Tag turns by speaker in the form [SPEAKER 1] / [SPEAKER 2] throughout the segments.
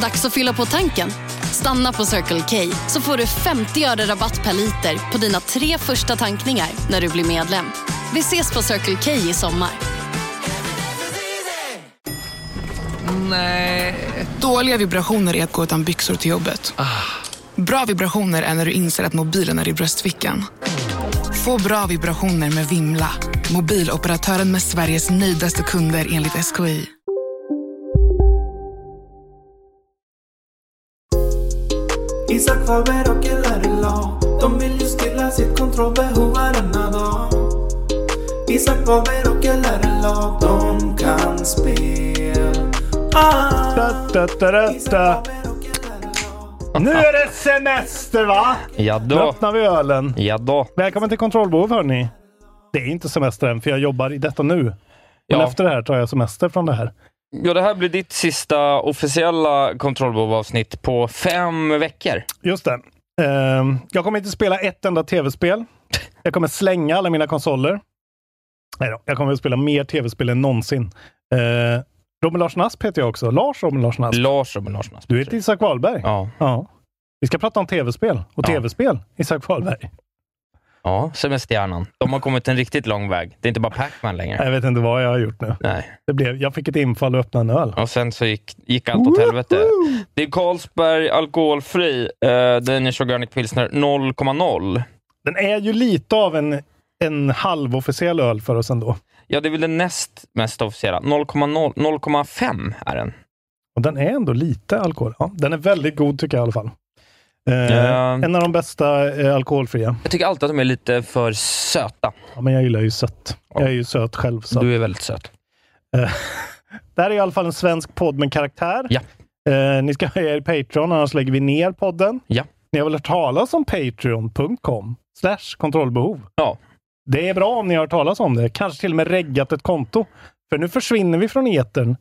[SPEAKER 1] Dags att fylla på tanken. Stanna på Circle K så får du 50 öre rabatt per liter på dina tre första tankningar när du blir medlem. Vi ses på Circle K i sommar.
[SPEAKER 2] Nej. Dåliga vibrationer är att gå utan byxor till jobbet. Bra vibrationer är när du inser att mobilen är i bröstfickan. Få bra vibrationer med Vimla. Mobiloperatören med Sveriges nöjdaste kunder enligt SKI.
[SPEAKER 3] Isak Faber och LRLA De vill ju stilla sitt kontrollbehov varenda dag Isak Faber och LRLA De kan spel ah.
[SPEAKER 4] Ta-ta-ta-ta. Nu är det semester va?
[SPEAKER 5] Ja
[SPEAKER 4] Då
[SPEAKER 5] då.
[SPEAKER 4] öppnar vi ölen.
[SPEAKER 5] Ja då.
[SPEAKER 4] Välkommen till kontrollbehov hörni. Det är inte semester än, för jag jobbar i detta nu. Men
[SPEAKER 5] Ja.
[SPEAKER 4] efter det här tar jag semester från det här.
[SPEAKER 5] ja, det här blir ditt sista officiella kontrollbehovavsnitt på fem veckor.
[SPEAKER 4] Just det. Ehm, jag kommer inte spela ett enda tv-spel. Jag kommer slänga alla mina konsoler. Nej då, jag kommer att spela mer tv-spel än någonsin. Uh, Robin Larsson Asp heter jag också. Lars Robin Larsson Asp.
[SPEAKER 5] Lars Robin Larsson Asp.
[SPEAKER 4] Alltså- Du heter Isak Wahlberg.
[SPEAKER 5] Ja.
[SPEAKER 4] Ja. Vi ska prata om tv-spel och
[SPEAKER 5] Ja.
[SPEAKER 4] tv-spel, Isak Wahlberg.
[SPEAKER 5] ja, Semesterhjärnan. De har kommit en riktigt lång väg. Det är inte bara Pac-Man längre.
[SPEAKER 4] Jag vet inte vad jag har gjort nu.
[SPEAKER 5] Nej.
[SPEAKER 4] Det blev, jag fick ett infall att öppna en öl.
[SPEAKER 5] Och sen så gick, gick allt åt helvete. Det är Carlsberg alkoholfri eh, Danish Organic Pilsner 0,0.
[SPEAKER 4] Den är ju lite av en, en halvofficiell öl för oss ändå.
[SPEAKER 5] Ja, det är väl den näst mest officiella. 0,0 0,5 är den.
[SPEAKER 4] Och den är ändå lite alkohol. Ja, den är väldigt god tycker jag i alla fall. Eh,
[SPEAKER 5] Ja.
[SPEAKER 4] En av de bästa eh, alkoholfria.
[SPEAKER 5] Jag tycker alltid att de är lite för söta.
[SPEAKER 4] Ja, men jag gillar ju sött.
[SPEAKER 5] Ja.
[SPEAKER 4] Jag är ju söt själv. Så.
[SPEAKER 5] Du är väldigt söt.
[SPEAKER 4] Eh, Det här är i alla fall en svensk podd med karaktär.
[SPEAKER 5] Ja.
[SPEAKER 4] Eh, ni ska höja er Patreon, annars lägger vi ner podden.
[SPEAKER 5] Ja.
[SPEAKER 4] Ni har väl hört talas om patreon.com slash kontrollbehov?
[SPEAKER 5] Ja.
[SPEAKER 4] Det är bra om ni har hört talas om det. Kanske till och med reggat ett konto. För nu försvinner vi från etern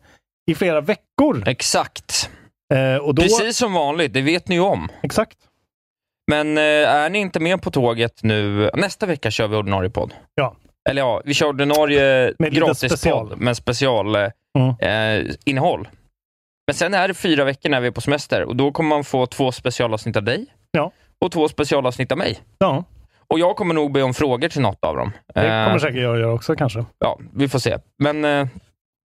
[SPEAKER 4] i flera veckor.
[SPEAKER 5] Exakt.
[SPEAKER 4] Eh, och då,
[SPEAKER 5] Precis som vanligt, det vet ni ju om.
[SPEAKER 4] Exakt.
[SPEAKER 5] Men eh, är ni inte med på tåget nu, nästa vecka kör vi ordinarie podd.
[SPEAKER 4] Ja.
[SPEAKER 5] Eller ja, vi kör ordinarie
[SPEAKER 4] Med lite
[SPEAKER 5] gratispodd
[SPEAKER 4] special.
[SPEAKER 5] med special eh,
[SPEAKER 4] Mm.
[SPEAKER 5] eh, innehåll. Men sen är det fyra veckor när vi är på semester och då kommer man få två specialavsnitt av dig
[SPEAKER 4] Ja.
[SPEAKER 5] och två specialavsnitt av mig.
[SPEAKER 4] Ja,
[SPEAKER 5] Och jag kommer nog be om frågor till något av dem.
[SPEAKER 4] det kommer
[SPEAKER 5] Eh,
[SPEAKER 4] säkert jag göra också kanske.
[SPEAKER 5] ja, vi får se. Men eh,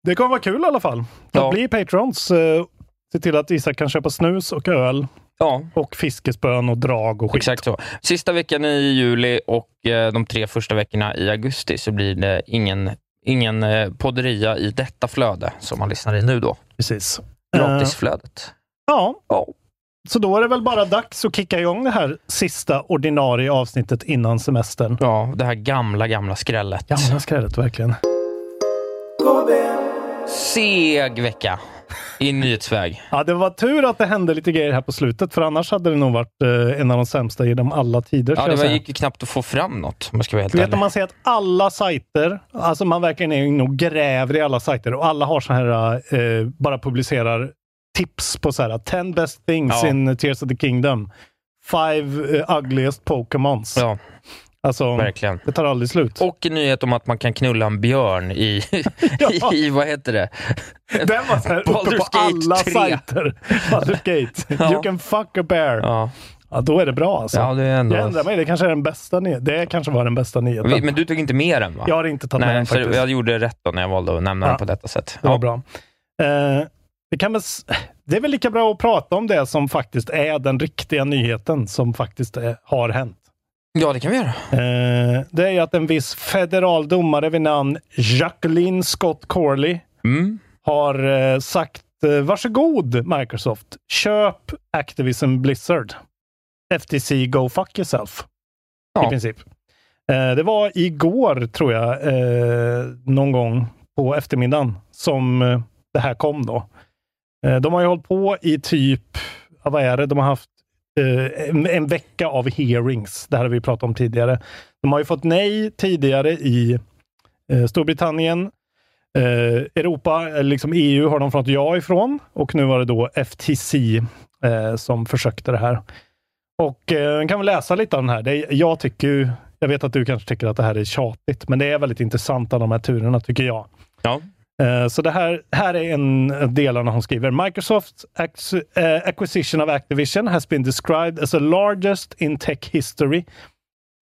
[SPEAKER 4] Det kommer vara kul i alla fall.
[SPEAKER 5] Ja.
[SPEAKER 4] Ja. Bli Patrons. Eh, se till att Isak kan köpa snus och öl
[SPEAKER 5] ja,
[SPEAKER 4] och fiskespön och drag och skit.
[SPEAKER 5] exakt så. Sista veckan i juli och eh, de tre första veckorna i augusti så blir det ingen, ingen eh, podderia i detta flöde som man lyssnar i nu då.
[SPEAKER 4] Precis. Eh,
[SPEAKER 5] Gratisflödet.
[SPEAKER 4] ja,
[SPEAKER 5] Ja.
[SPEAKER 4] så då är det väl bara dags att kicka igång det här sista ordinarie avsnittet innan semestern.
[SPEAKER 5] ja, det här gamla, gamla skrället.
[SPEAKER 4] Gamla skrädet verkligen.
[SPEAKER 5] Seg vecka i nyhetsväg.
[SPEAKER 4] Ja, det var tur att det hände lite grejer här på slutet, för annars hade det nog varit eh, en av de sämsta genom alla tider.
[SPEAKER 5] Ja,
[SPEAKER 4] ska
[SPEAKER 5] det
[SPEAKER 4] jag
[SPEAKER 5] var,
[SPEAKER 4] säga.
[SPEAKER 5] gick ju knappt att få fram något om jag ska vara helt
[SPEAKER 4] Du vet om
[SPEAKER 5] ärlig.
[SPEAKER 4] man ser att alla sajter, alltså man verkligen är inne och gräver i alla sajter och alla har så här, eh, bara publicerar tips på så här 10 best things
[SPEAKER 5] Ja.
[SPEAKER 4] in Tears of the Kingdom. Five eh, ugliest Pokémons.
[SPEAKER 5] Ja,
[SPEAKER 4] Alltså,
[SPEAKER 5] verkligen.
[SPEAKER 4] det tar aldrig slut.
[SPEAKER 5] Och en nyhet om att man kan knulla en björn i,
[SPEAKER 4] Ja.
[SPEAKER 5] i vad heter det?
[SPEAKER 4] Den var så här uppe
[SPEAKER 5] Baldur's
[SPEAKER 4] på
[SPEAKER 5] Gate
[SPEAKER 4] alla
[SPEAKER 5] 3.
[SPEAKER 4] sajter. Baldur's Gate.
[SPEAKER 5] Ja.
[SPEAKER 4] You can fuck a bear. Ja.
[SPEAKER 5] Ja,
[SPEAKER 4] då är det bra alltså.
[SPEAKER 5] ja det är
[SPEAKER 4] jag ändrar
[SPEAKER 5] ändå...
[SPEAKER 4] mig. Det kanske är den bästa nyheten. Det kanske var den bästa nyheten.
[SPEAKER 5] Vi- Men du tog inte med den va?
[SPEAKER 4] Jag har inte tagit med
[SPEAKER 5] Nej,
[SPEAKER 4] den
[SPEAKER 5] så
[SPEAKER 4] faktiskt.
[SPEAKER 5] jag gjorde rätt då när jag valde att nämna
[SPEAKER 4] Ja.
[SPEAKER 5] den på detta sätt.
[SPEAKER 4] Det var
[SPEAKER 5] Ja.
[SPEAKER 4] bra. Eh, det, kan väl, s- det är väl lika bra att prata om det som faktiskt är den riktiga nyheten som faktiskt är, har hänt.
[SPEAKER 5] ja, det kan vi göra.
[SPEAKER 4] Eh, det är ju att en viss federal domare vid namn Jacqueline Scott Corley
[SPEAKER 5] Mm.
[SPEAKER 4] har eh, sagt eh, varsågod Microsoft, köp Activision Blizzard. FTC Go Fuck Yourself.
[SPEAKER 5] Ja.
[SPEAKER 4] I princip. Eh, det var igår, tror jag, eh, någon gång på eftermiddagen som eh, det här kom då. Eh, de har ju hållit på i typ, ja, vad är det, de har haft eh, en, en vecka av hearings. Det här har vi pratat om tidigare. De har ju fått nej tidigare i eh, Storbritannien, Eh, Europa, eller liksom EU, har de fått ja ifrån och nu var det då FTC eh, som försökte det här. Och eh, jag kan väl läsa lite av den här. Det är, jag tycker ju, jag vet att du kanske tycker att det här är tjatigt, men det är väldigt intressant alla de här turerna tycker jag.
[SPEAKER 5] Ja.
[SPEAKER 4] Eh, Så det här, här är en del av när hon skriver. Microsofts ac- eh, acquisition of Activision has been described as the largest in tech history.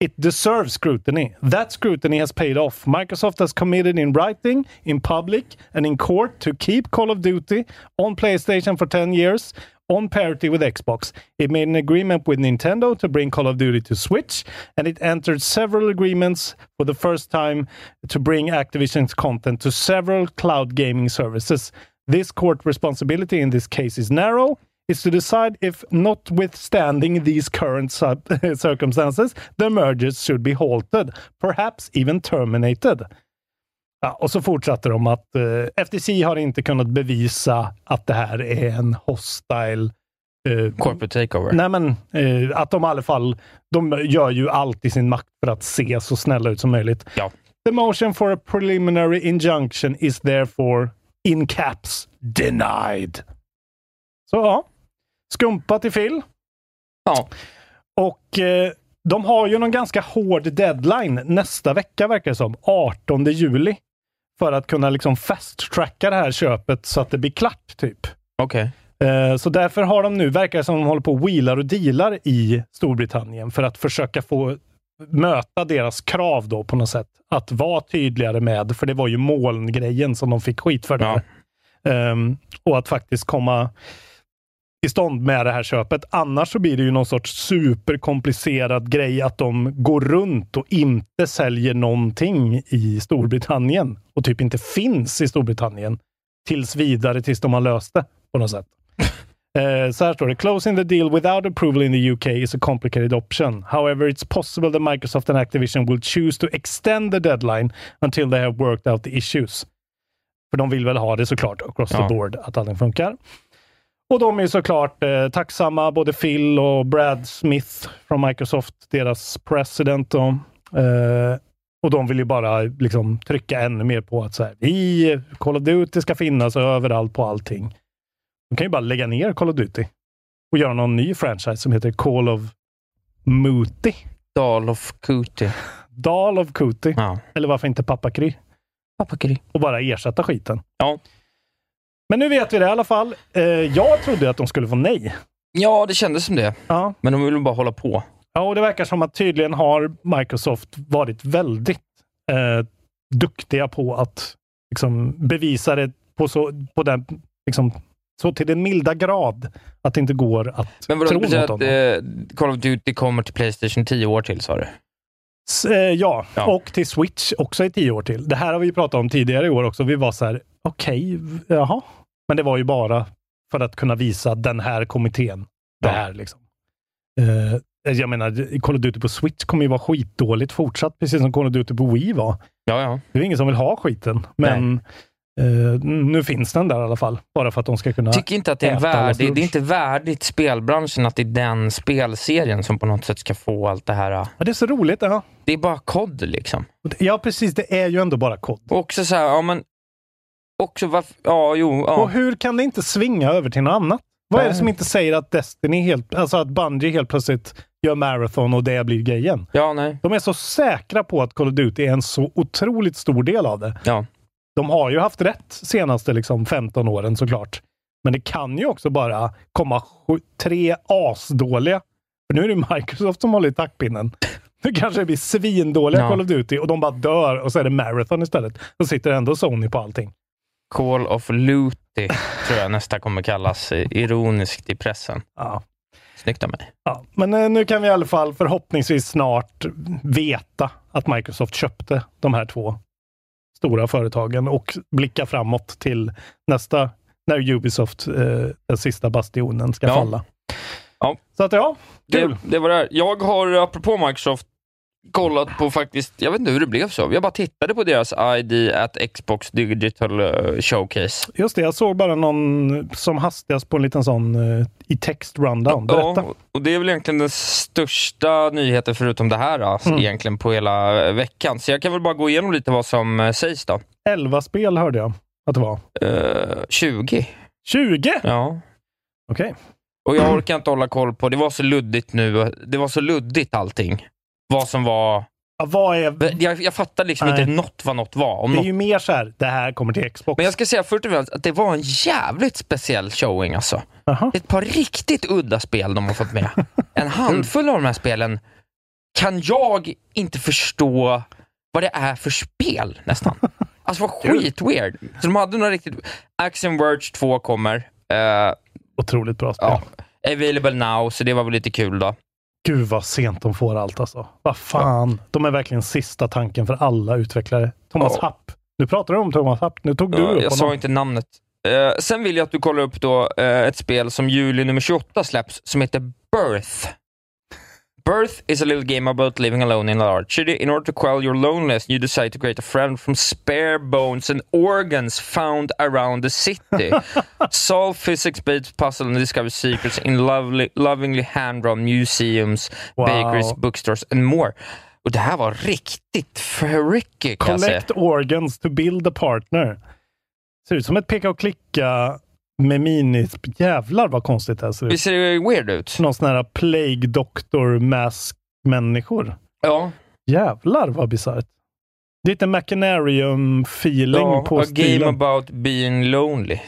[SPEAKER 4] It deserves scrutiny. That scrutiny has paid off. Microsoft has committed in writing, in public and in court to keep Call of Duty on PlayStation for 10 years on parity with Xbox. It made an agreement with Nintendo to bring Call of Duty to Switch and it entered several agreements for the first time to bring Activision's content to several cloud gaming services. This court responsibility in this case is narrow is to decide if, notwithstanding these current sub- circumstances, the mergers should be halted, perhaps even terminated. Ja, och så fortsatte de att eh, FTC har inte kunnat bevisa att det här är en hostile... eh,
[SPEAKER 5] Corporate takeover.
[SPEAKER 4] nej men, eh, att de i alla fall... De gör ju allt i sin makt för att se så snälla ut som möjligt.
[SPEAKER 5] Ja.
[SPEAKER 4] The motion for a preliminary injunction is therefore in caps denied. Så ja, skumpa till Phil.
[SPEAKER 5] Ja.
[SPEAKER 4] Och eh, de har ju någon ganska hård deadline nästa vecka verkar det som. 18 juli. För att kunna liksom fast-tracka det här köpet så att det blir klart. typ.
[SPEAKER 5] Okej.
[SPEAKER 4] Eh, Så därför har de nu, verkar det som de håller på och wheelar och dealar i Storbritannien för att försöka få möta deras krav då på något sätt. Att vara tydligare med, för det var ju molngrejen som de fick skit för. Där. Ehm, och att faktiskt komma i stånd med det här köpet. Annars så blir det ju någon sorts superkomplicerad grej att de går runt och inte säljer någonting i Storbritannien och typ inte finns i Storbritannien tills vidare, tills de har löst det på något sätt. Eh, Så här står det. Closing the deal without approval in the UK is a complicated option. However, it's possible that Microsoft and Activision will choose to extend the deadline until they have worked out the issues. För de vill väl ha det såklart across
[SPEAKER 5] Ja.
[SPEAKER 4] the board, att allting funkar. Och de är såklart eh, tacksamma, både Phil och Brad Smith från Microsoft, deras president. Då. Eh, och de vill ju bara liksom, trycka ännu mer på att så här, vi, Call of Duty ska finnas överallt på allting. De kan ju bara lägga ner Call of Duty och göra någon ny franchise som heter Call of Muti.
[SPEAKER 5] Dal of Cootie.
[SPEAKER 4] Dal of Cooty.
[SPEAKER 5] Ja.
[SPEAKER 4] Eller varför inte Pappa Kry? Och bara ersätta skiten.
[SPEAKER 5] Ja.
[SPEAKER 4] Men nu vet vi det i alla fall. Eh, jag trodde att de skulle få nej.
[SPEAKER 5] ja, det kändes som det.
[SPEAKER 4] Ja.
[SPEAKER 5] Men de ville bara hålla på.
[SPEAKER 4] ja, och det verkar som att tydligen har Microsoft varit väldigt eh, duktiga på att liksom, bevisa det på så, på den, liksom, så till den milda grad att det inte går att
[SPEAKER 5] Men vadå,
[SPEAKER 4] tro
[SPEAKER 5] det betyder
[SPEAKER 4] något om
[SPEAKER 5] att
[SPEAKER 4] det.
[SPEAKER 5] eh, Call of Duty kommer till Playstation 10 år till, sa du?
[SPEAKER 4] S- eh, ja.
[SPEAKER 5] Ja.
[SPEAKER 4] och till Switch också i tio år till. Det här har vi ju pratat om tidigare i år också. Vi var så här, okej, v- jaha. Men det var ju bara för att kunna visa den här kommittén. Det
[SPEAKER 5] Ja.
[SPEAKER 4] här liksom. Eh, jag menar, Call of Duty på Switch kommer ju vara skitdåligt fortsatt, precis som Call of Duty på Wii var.
[SPEAKER 5] Ja, ja.
[SPEAKER 4] Det är ju ingen som vill ha skiten, men eh, nu finns den där i alla fall. Bara för att de ska kunna...
[SPEAKER 5] Tycker inte att det är, en
[SPEAKER 4] Äta allas
[SPEAKER 5] värdig,
[SPEAKER 4] lunch.
[SPEAKER 5] det är inte värdigt spelbranschen att det är den spelserien som på något sätt ska få allt det här. eh.
[SPEAKER 4] Ja, det är så roligt. Ja.
[SPEAKER 5] Det är bara kod liksom.
[SPEAKER 4] ja, precis. Det är ju ändå bara kod.
[SPEAKER 5] Och också så här, ja men... Också varför... Ja, jo.
[SPEAKER 4] Och
[SPEAKER 5] Ja.
[SPEAKER 4] hur kan det inte svinga över till något annat? Vad är det som inte säger att Destiny helt, alltså att Bungie helt plötsligt gör marathon och det blir grejen?
[SPEAKER 5] Ja, nej.
[SPEAKER 4] De är så säkra på att Call of Duty är en så otroligt stor del av det.
[SPEAKER 5] Ja.
[SPEAKER 4] De har ju haft rätt senaste liksom 15 åren såklart. Men det kan ju också bara komma sju, tre asdåliga. För nu är det Microsoft som håller i taktpinnen. Nu kanske det blir svindåliga
[SPEAKER 5] Ja.
[SPEAKER 4] Call of Duty och de bara dör och så är det marathon istället. Då sitter ändå Sony på allting.
[SPEAKER 5] Call of Luty, tror jag nästa kommer kallas. eh, Ironiskt i pressen.
[SPEAKER 4] Ja.
[SPEAKER 5] Snyggt av mig.
[SPEAKER 4] Ja, men eh, nu kan vi i alla fall förhoppningsvis snart veta att Microsoft köpte de här två stora företagen och blicka framåt till nästa, när Ubisoft, eh, den sista bastionen, ska
[SPEAKER 5] Ja.
[SPEAKER 4] falla.
[SPEAKER 5] Ja.
[SPEAKER 4] Så att ja,
[SPEAKER 5] Det,
[SPEAKER 4] kul.
[SPEAKER 5] det var det här. Jag har, apropå Microsoft, kollat på faktiskt, jag vet inte hur det blev så, jag bara tittade på deras ID at Xbox Digital eh, Showcase.
[SPEAKER 4] Just det, jag såg bara någon som hastigast på en liten sån eh, i text rundown. Berätta.
[SPEAKER 5] Ja, och det är väl egentligen den största nyheten förutom det här, alltså,
[SPEAKER 4] Mm.
[SPEAKER 5] egentligen på hela eh, veckan. Så jag kan väl bara gå igenom lite vad som eh, sägs då.
[SPEAKER 4] 11 spel hörde jag att det var.
[SPEAKER 5] Eh, 20?
[SPEAKER 4] 20!
[SPEAKER 5] Ja.
[SPEAKER 4] Okej.
[SPEAKER 5] Och jag orkar inte hålla koll på, det var så luddigt nu, det var så luddigt allting. Vad som var...
[SPEAKER 4] Ja, vad är...
[SPEAKER 5] Jag, jag fattar liksom
[SPEAKER 4] Nej.
[SPEAKER 5] inte något vad något var. Om
[SPEAKER 4] Det är
[SPEAKER 5] något.
[SPEAKER 4] ju mer så här, det här kommer till Xbox.
[SPEAKER 5] Men jag ska säga först och främst att det var en jävligt speciell showing alltså.
[SPEAKER 4] Jaha.
[SPEAKER 5] Ett par riktigt udda spel de har fått med. En handfull av de här spelen kan jag inte förstå vad det är för spel nästan. Alltså vad skitweird. Så de hade några riktigt... Action Verge 2 kommer. Eh,
[SPEAKER 4] Otroligt bra spel.
[SPEAKER 5] ja. Available now, så det var väl lite kul då.
[SPEAKER 4] Gud vad sent de får allt alltså. Vad fan. De är verkligen sista tanken för alla utvecklare. Thomas
[SPEAKER 5] Ja.
[SPEAKER 4] Happ. Nu pratar du om Thomas Happ. Nu tog du
[SPEAKER 5] Ja,
[SPEAKER 4] upp
[SPEAKER 5] jag sa
[SPEAKER 4] honom.
[SPEAKER 5] inte namnet. Eh, sen vill jag att du kollar upp då, eh, ett spel som juli nummer 28 släpps, som heter Birth. Birth is a little game about living alone in a large city. In order to quell your loneliness, you decide to create a friend from spare bones and organs found around the city. Solve physics-based puzzles and discover secrets in lovely, lovingly hand-drawn museums,
[SPEAKER 4] Wow.
[SPEAKER 5] bakeries, bookstores and more. Och det här var riktigt freaky kan jag säga.
[SPEAKER 4] Collect organs to build a partner. Ser ut som ett peka och klicka med minis. Jävlar vad konstigt det här ser ut.
[SPEAKER 5] Visst ser det weird ut?
[SPEAKER 4] Någon sån här plague doctor mask människor.
[SPEAKER 5] Ja.
[SPEAKER 4] Jävlar vad bisarrt. Lite Machinarium-feeling
[SPEAKER 5] Ja,
[SPEAKER 4] på
[SPEAKER 5] a game
[SPEAKER 4] stilen.
[SPEAKER 5] about being lonely.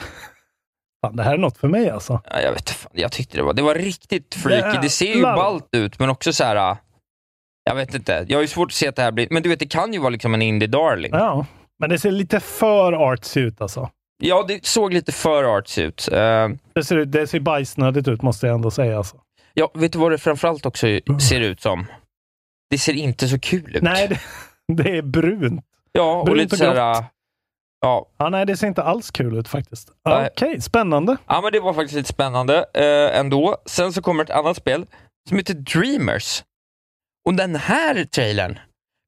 [SPEAKER 4] Fan, det här är något för mig alltså.
[SPEAKER 5] Ja, jag vet inte fan, jag tyckte det var, det var riktigt freaky. Det ser ju
[SPEAKER 4] Jävlar.
[SPEAKER 5] ballt ut, men också så här. ah, Jag vet inte, jag har ju svårt att se att det här blir, men du vet det kan ju vara liksom en indie darling. Ja,
[SPEAKER 4] Ja, men det ser lite för artsy ut alltså.
[SPEAKER 5] det såg lite för arts ut. Eh,
[SPEAKER 4] Det ser, ut- det ser bajsnödigt ut måste jag ändå säga. Alltså.
[SPEAKER 5] ja, vet du vad det framförallt också ser ut som? Det ser inte så kul ut.
[SPEAKER 4] Mm. Nej, det, det är brunt.
[SPEAKER 5] ja, och
[SPEAKER 4] brunt
[SPEAKER 5] lite
[SPEAKER 4] och
[SPEAKER 5] så här,
[SPEAKER 4] grått.
[SPEAKER 5] ah, ja,
[SPEAKER 4] Ja, nej, det ser inte alls kul ut faktiskt.
[SPEAKER 5] Nej.
[SPEAKER 4] Okej, spännande.
[SPEAKER 5] ja, men det var faktiskt lite spännande eh, ändå. Sen så kommer ett annat spel som heter Dreamers. Och den här trailern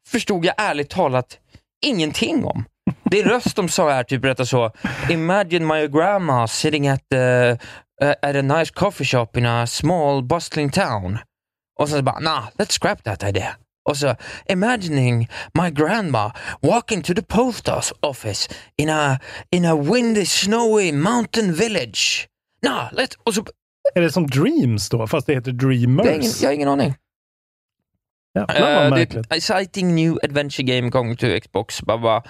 [SPEAKER 5] förstod jag ärligt talat ingenting om. Det är röst de sa här, typ berättar så. Imagine my grandma sitting at, the, uh, at a nice coffee shop in a small bustling town. Och sen så bara, nah, let's scrap that idea. Och så, imagining my grandma walking to the post office in a, in a windy snowy mountain village. Nah, let's... Och så,
[SPEAKER 4] Är det som Dreams då? Fast det heter
[SPEAKER 5] det är ingen,
[SPEAKER 4] Dreamers.
[SPEAKER 5] jag har ingen aning.
[SPEAKER 4] Jävlar vad
[SPEAKER 5] Eh, det
[SPEAKER 4] märkligt.
[SPEAKER 5] är ett exciting new adventure game coming to Xbox. Blah, blah.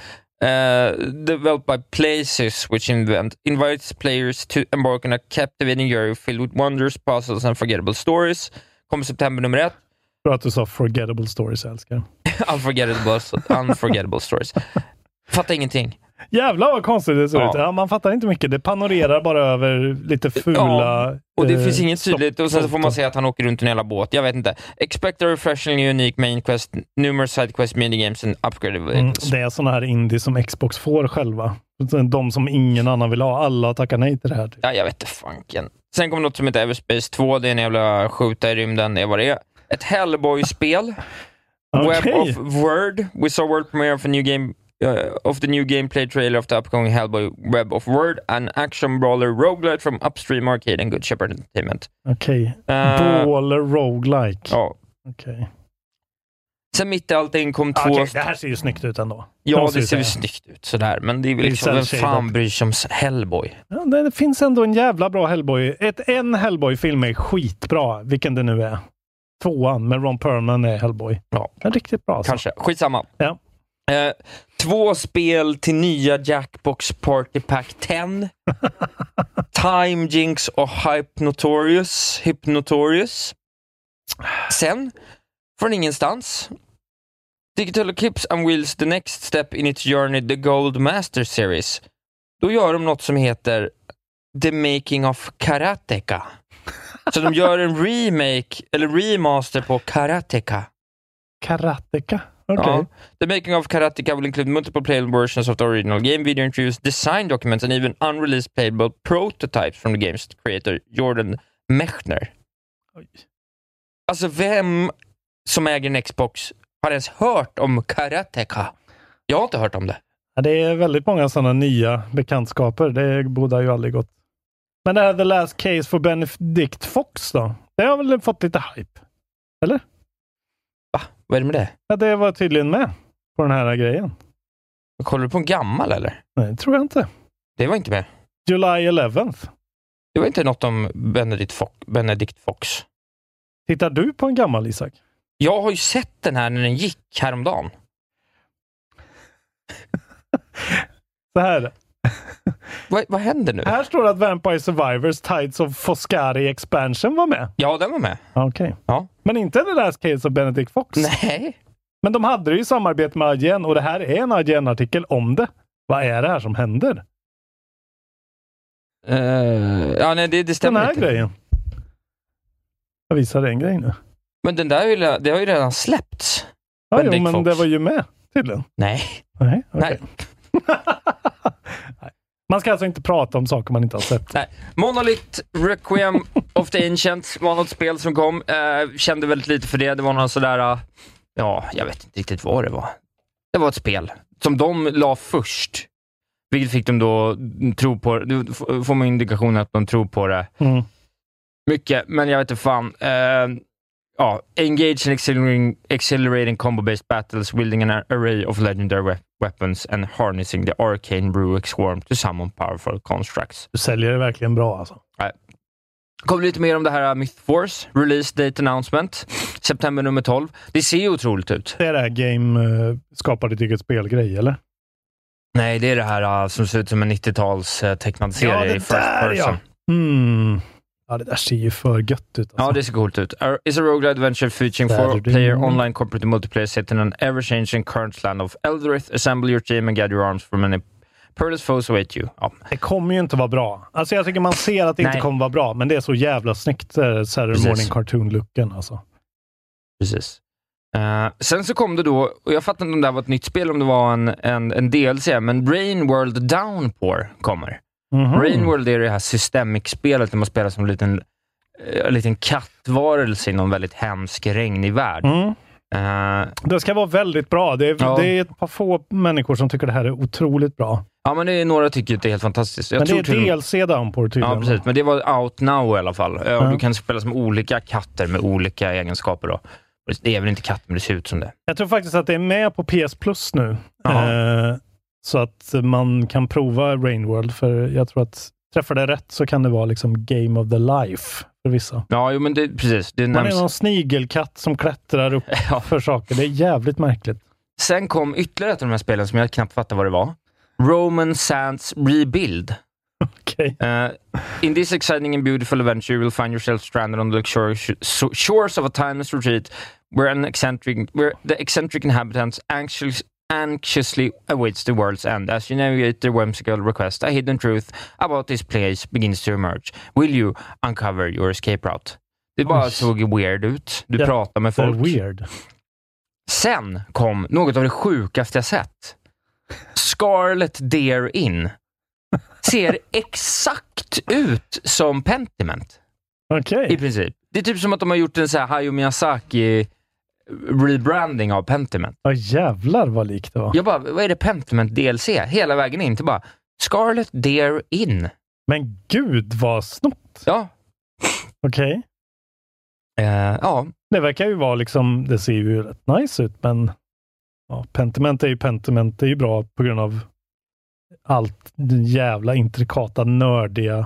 [SPEAKER 5] Eh, developed by Places, which invent, invites players to embark on a captivating journey filled with wonders, puzzles and forgettable stories. Kommer september nummer ett.
[SPEAKER 4] Bra att du sa forgettable stories, jag älskar det.
[SPEAKER 5] unforgettable, unforgettable stories. Fattar ingenting.
[SPEAKER 4] Jävlar vad konstigt det ser
[SPEAKER 5] Ja.
[SPEAKER 4] ut. Ja, man fattar inte mycket. Det panorerar bara över lite fula...
[SPEAKER 5] Ja, Och det
[SPEAKER 4] eh,
[SPEAKER 5] finns inget
[SPEAKER 4] stopp-
[SPEAKER 5] tydligt och sen så får man
[SPEAKER 4] tomtar.
[SPEAKER 5] säga att han åker runt i en jävla båt. Jag vet inte. Expect a refreshingly unique main quest, numerous side quest, minigames and upgradable
[SPEAKER 4] Mm, det är sådana här indie som Xbox får själva. De som ingen annan vill ha. Alla tackar nej till det här. Typ.
[SPEAKER 5] Ja, jag vet inte fanken. Sen kom något som heter Everspace 2. Det är en jävla skjuta i rymden. Det är vad det är. Ett Hellboy-spel.
[SPEAKER 4] Okej.
[SPEAKER 5] Web of Word. We saw world premiere of, a new game, uh, of the new gameplay trailer of the upcoming Hellboy Web of Word. An action brawler roguelite from Upstream Arcade and Good Shepherd Entertainment.
[SPEAKER 4] Okej.
[SPEAKER 5] Eh,
[SPEAKER 4] Baller roguelike.
[SPEAKER 5] ja.
[SPEAKER 4] Okej.
[SPEAKER 5] Sen mitt i allting kom två...
[SPEAKER 4] Okej, det här ser ju snyggt ut ändå.
[SPEAKER 5] ja,
[SPEAKER 4] måste
[SPEAKER 5] det
[SPEAKER 4] vi
[SPEAKER 5] ser ju
[SPEAKER 4] säga.
[SPEAKER 5] snyggt ut sådär. Men det är väl
[SPEAKER 4] Det är
[SPEAKER 5] liksom, vem
[SPEAKER 4] cel-shaded.
[SPEAKER 5] fan bryr sig om Hellboy?
[SPEAKER 4] Ja, det, det finns ändå en jävla bra Hellboy. Ett, en Hellboy-film är skitbra, vilken det nu är. Tvåan med Ron Perlman är Hellboy.
[SPEAKER 5] Ja.
[SPEAKER 4] Den är riktigt bra. alltså.
[SPEAKER 5] Kanske. Skitsamma.
[SPEAKER 4] Ja.
[SPEAKER 5] Eh, två spel till nya Jackbox Party Pack 10. Time Jinx och Hypnotorious. Hypnotorious. Sen, från ingenstans, Digital Eclipse unveils the next step in its journey, the Gold Master Series. Då gör de något som heter The Making of Karateka. Så de gör en remake, eller remaster på Karateka.
[SPEAKER 4] Karateka. Okej.
[SPEAKER 5] Ja. The making of Karateka will include multiple playable versions of the original game, video interviews, design documents and even unreleased playable prototypes from the game's creator Jordan Mechner.
[SPEAKER 4] Oj.
[SPEAKER 5] Alltså vem som äger en Xbox har ens hört om karateka. Jag har inte hört om det.
[SPEAKER 4] Ja, det är väldigt många sådana nya bekantskaper. Det borde ju aldrig gått. Men det här The Last Case for Benedict Fox då? Det har väl fått lite hype?
[SPEAKER 5] Va? Vad är det med det?
[SPEAKER 4] Ja, det var tydligen med på den här grejen.
[SPEAKER 5] Kollar du på en gammal eller?
[SPEAKER 4] Nej, det tror jag inte.
[SPEAKER 5] Det var inte med.
[SPEAKER 4] July 11th.
[SPEAKER 5] Det var inte något om Benedict Fox. Benedict Fox.
[SPEAKER 4] Tittar du på en gammal Isak?
[SPEAKER 5] Jag har ju sett den här när den gick häromdagen.
[SPEAKER 4] Så här är det.
[SPEAKER 5] Vad, vad händer nu?
[SPEAKER 4] Här står det att Vampire Survivors Tides of Foscari Expansion var med.
[SPEAKER 5] Ja, den var med.
[SPEAKER 4] Okej.
[SPEAKER 5] Ja.
[SPEAKER 4] Men inte The Last Case of Benedict Fox.
[SPEAKER 5] Nej.
[SPEAKER 4] Men de hade det ju i samarbete med IGN och det här är en IGN-artikel om det. Vad är det här som händer?
[SPEAKER 5] Eh, ja, nej, det, det
[SPEAKER 4] Den
[SPEAKER 5] stämmer
[SPEAKER 4] här
[SPEAKER 5] inte.
[SPEAKER 4] grejen. Jag visar en grej nu.
[SPEAKER 5] Men den där har ju, re- det har ju redan släppts.
[SPEAKER 4] Ja, jo,
[SPEAKER 5] Benedict
[SPEAKER 4] men
[SPEAKER 5] Fox.
[SPEAKER 4] det var ju med tydligen.
[SPEAKER 5] Nej.
[SPEAKER 4] Nej, okej.
[SPEAKER 5] nej.
[SPEAKER 4] Nej. Man ska alltså inte prata om saker man inte har sett.
[SPEAKER 5] Nej. Monolith Requiem of the Ancients var något spel som kom. Eh, kände väldigt lite för det. Det var någon sådär, eh, ja, jag vet inte riktigt vad det var. Det var ett spel som de la först. Vilket fick dem då tro på, då f- får man indikationen att de tror på det
[SPEAKER 4] Mm.
[SPEAKER 5] mycket, men jag vet inte fan. Eh, ja, engage in accelerating, accelerating combo-based battles, wielding an array of legendary we- weapons and harnessing the arcane Bruic swarm to summon powerful constructs.
[SPEAKER 4] Du säljer det verkligen bra alltså.
[SPEAKER 5] Kommer lite mer om det här uh, Mythforce, release date announcement, september nummer 12. Det ser ju otroligt ut.
[SPEAKER 4] Det är det här game eh, skapar ditt eget spel-grej, eller?
[SPEAKER 5] Nej, det är det här uh, som ser ut som en 90-tals uh, tecknad serie
[SPEAKER 4] det
[SPEAKER 5] i first
[SPEAKER 4] där,
[SPEAKER 5] person.
[SPEAKER 4] ja. Mm. Ja, det där ser ju för gött ut.
[SPEAKER 5] Ja,
[SPEAKER 4] Alltså.
[SPEAKER 5] det ser coolt ut. Ar- Is a roguelike adventure featuring four
[SPEAKER 4] Saturday
[SPEAKER 5] player
[SPEAKER 4] morning.
[SPEAKER 5] online corporate multiplayer set in an ever-changing current land of Eldrith. Assemble your team and gather your arms for many perilous foes await you. Ja.
[SPEAKER 4] det kommer ju inte vara bra. Alltså jag tycker man ser att det inte
[SPEAKER 5] Nej.
[SPEAKER 4] kommer vara bra, men det är så jävla snyggt, eh, Saturday
[SPEAKER 5] Precis.
[SPEAKER 4] Morning Cartoon-looken alltså.
[SPEAKER 5] Precis. Eh, sen så kom det då, och jag fattar inte om det här var ett nytt spel, om det var en, en, en DLC, men Rain World Downpour kommer.
[SPEAKER 4] Mhm.
[SPEAKER 5] Rain World är det här systemic-spelet där man spelar som en liten, eh, liten kattvarelse i någon väldigt hemsk, regnig värld.
[SPEAKER 4] Mm.
[SPEAKER 5] Eh,
[SPEAKER 4] Det ska vara väldigt bra. Det är,
[SPEAKER 5] Ja.
[SPEAKER 4] det är ett par få människor som tycker det här är otroligt bra.
[SPEAKER 5] ja, men det är, några tycker att det är helt fantastiskt. Jag
[SPEAKER 4] men
[SPEAKER 5] tror
[SPEAKER 4] det
[SPEAKER 5] till-
[SPEAKER 4] är DLC Downpour tydligen.
[SPEAKER 5] Ja, precis. Men det var out now i alla fall. Eh, och
[SPEAKER 4] Ja.
[SPEAKER 5] Du kan spela som olika katter med olika egenskaper. Då. Det är väl inte katt, men det ser ut som det.
[SPEAKER 4] Jag tror faktiskt att det är med på PS Plus nu.
[SPEAKER 5] Jaha.
[SPEAKER 4] Eh, så att man kan prova Rain World, för jag tror att träffar det rätt så kan det vara liksom game of the life för vissa.
[SPEAKER 5] Ja, jo, men det, precis. Det
[SPEAKER 4] Man
[SPEAKER 5] nämns.
[SPEAKER 4] är någon snigelkatt som klättrar upp
[SPEAKER 5] Ja.
[SPEAKER 4] för saker. Det är jävligt märkligt.
[SPEAKER 5] Sen kom ytterligare ett av de här spelen som jag knappt fattar vad det var. Roman Sands Rebuild.
[SPEAKER 4] Okej.
[SPEAKER 5] Uh, in this exciting and beautiful adventure, you will find yourself stranded on the luxurious so- shores of a timeless retreat where, an eccentric, where the eccentric inhabitants anxious, anxiously awaits the world's end. As you navigate their whimsical request, a hidden truth about this place begins to emerge. Will you uncover your escape route? Det bara
[SPEAKER 4] Oj.
[SPEAKER 5] såg weird ut. Du
[SPEAKER 4] Ja,
[SPEAKER 5] pratar med
[SPEAKER 4] Det är
[SPEAKER 5] folk.
[SPEAKER 4] weird.
[SPEAKER 5] Sen kom något av det sjukaste jag sett. Scarlet Deer In. Ser exakt ut som Pentiment,
[SPEAKER 4] Okej.
[SPEAKER 5] i princip. Det är typ som att de har gjort en så här Hayao Miyazaki eh, rebranding av Pentiment.
[SPEAKER 4] Ja, jävlar vad likt det var.
[SPEAKER 5] Jag bara, vad är det Pentiment DLC? Hela vägen in till bara Scarlet Deer In.
[SPEAKER 4] Men gud vad snott.
[SPEAKER 5] Ja.
[SPEAKER 4] Okej.
[SPEAKER 5] Eh, ja,
[SPEAKER 4] Det verkar ju vara liksom, det ser ju rätt nice ut, men ja, Pentiment är ju Pentiment. Det är ju bra på grund av allt det jävla intrikata, nördiga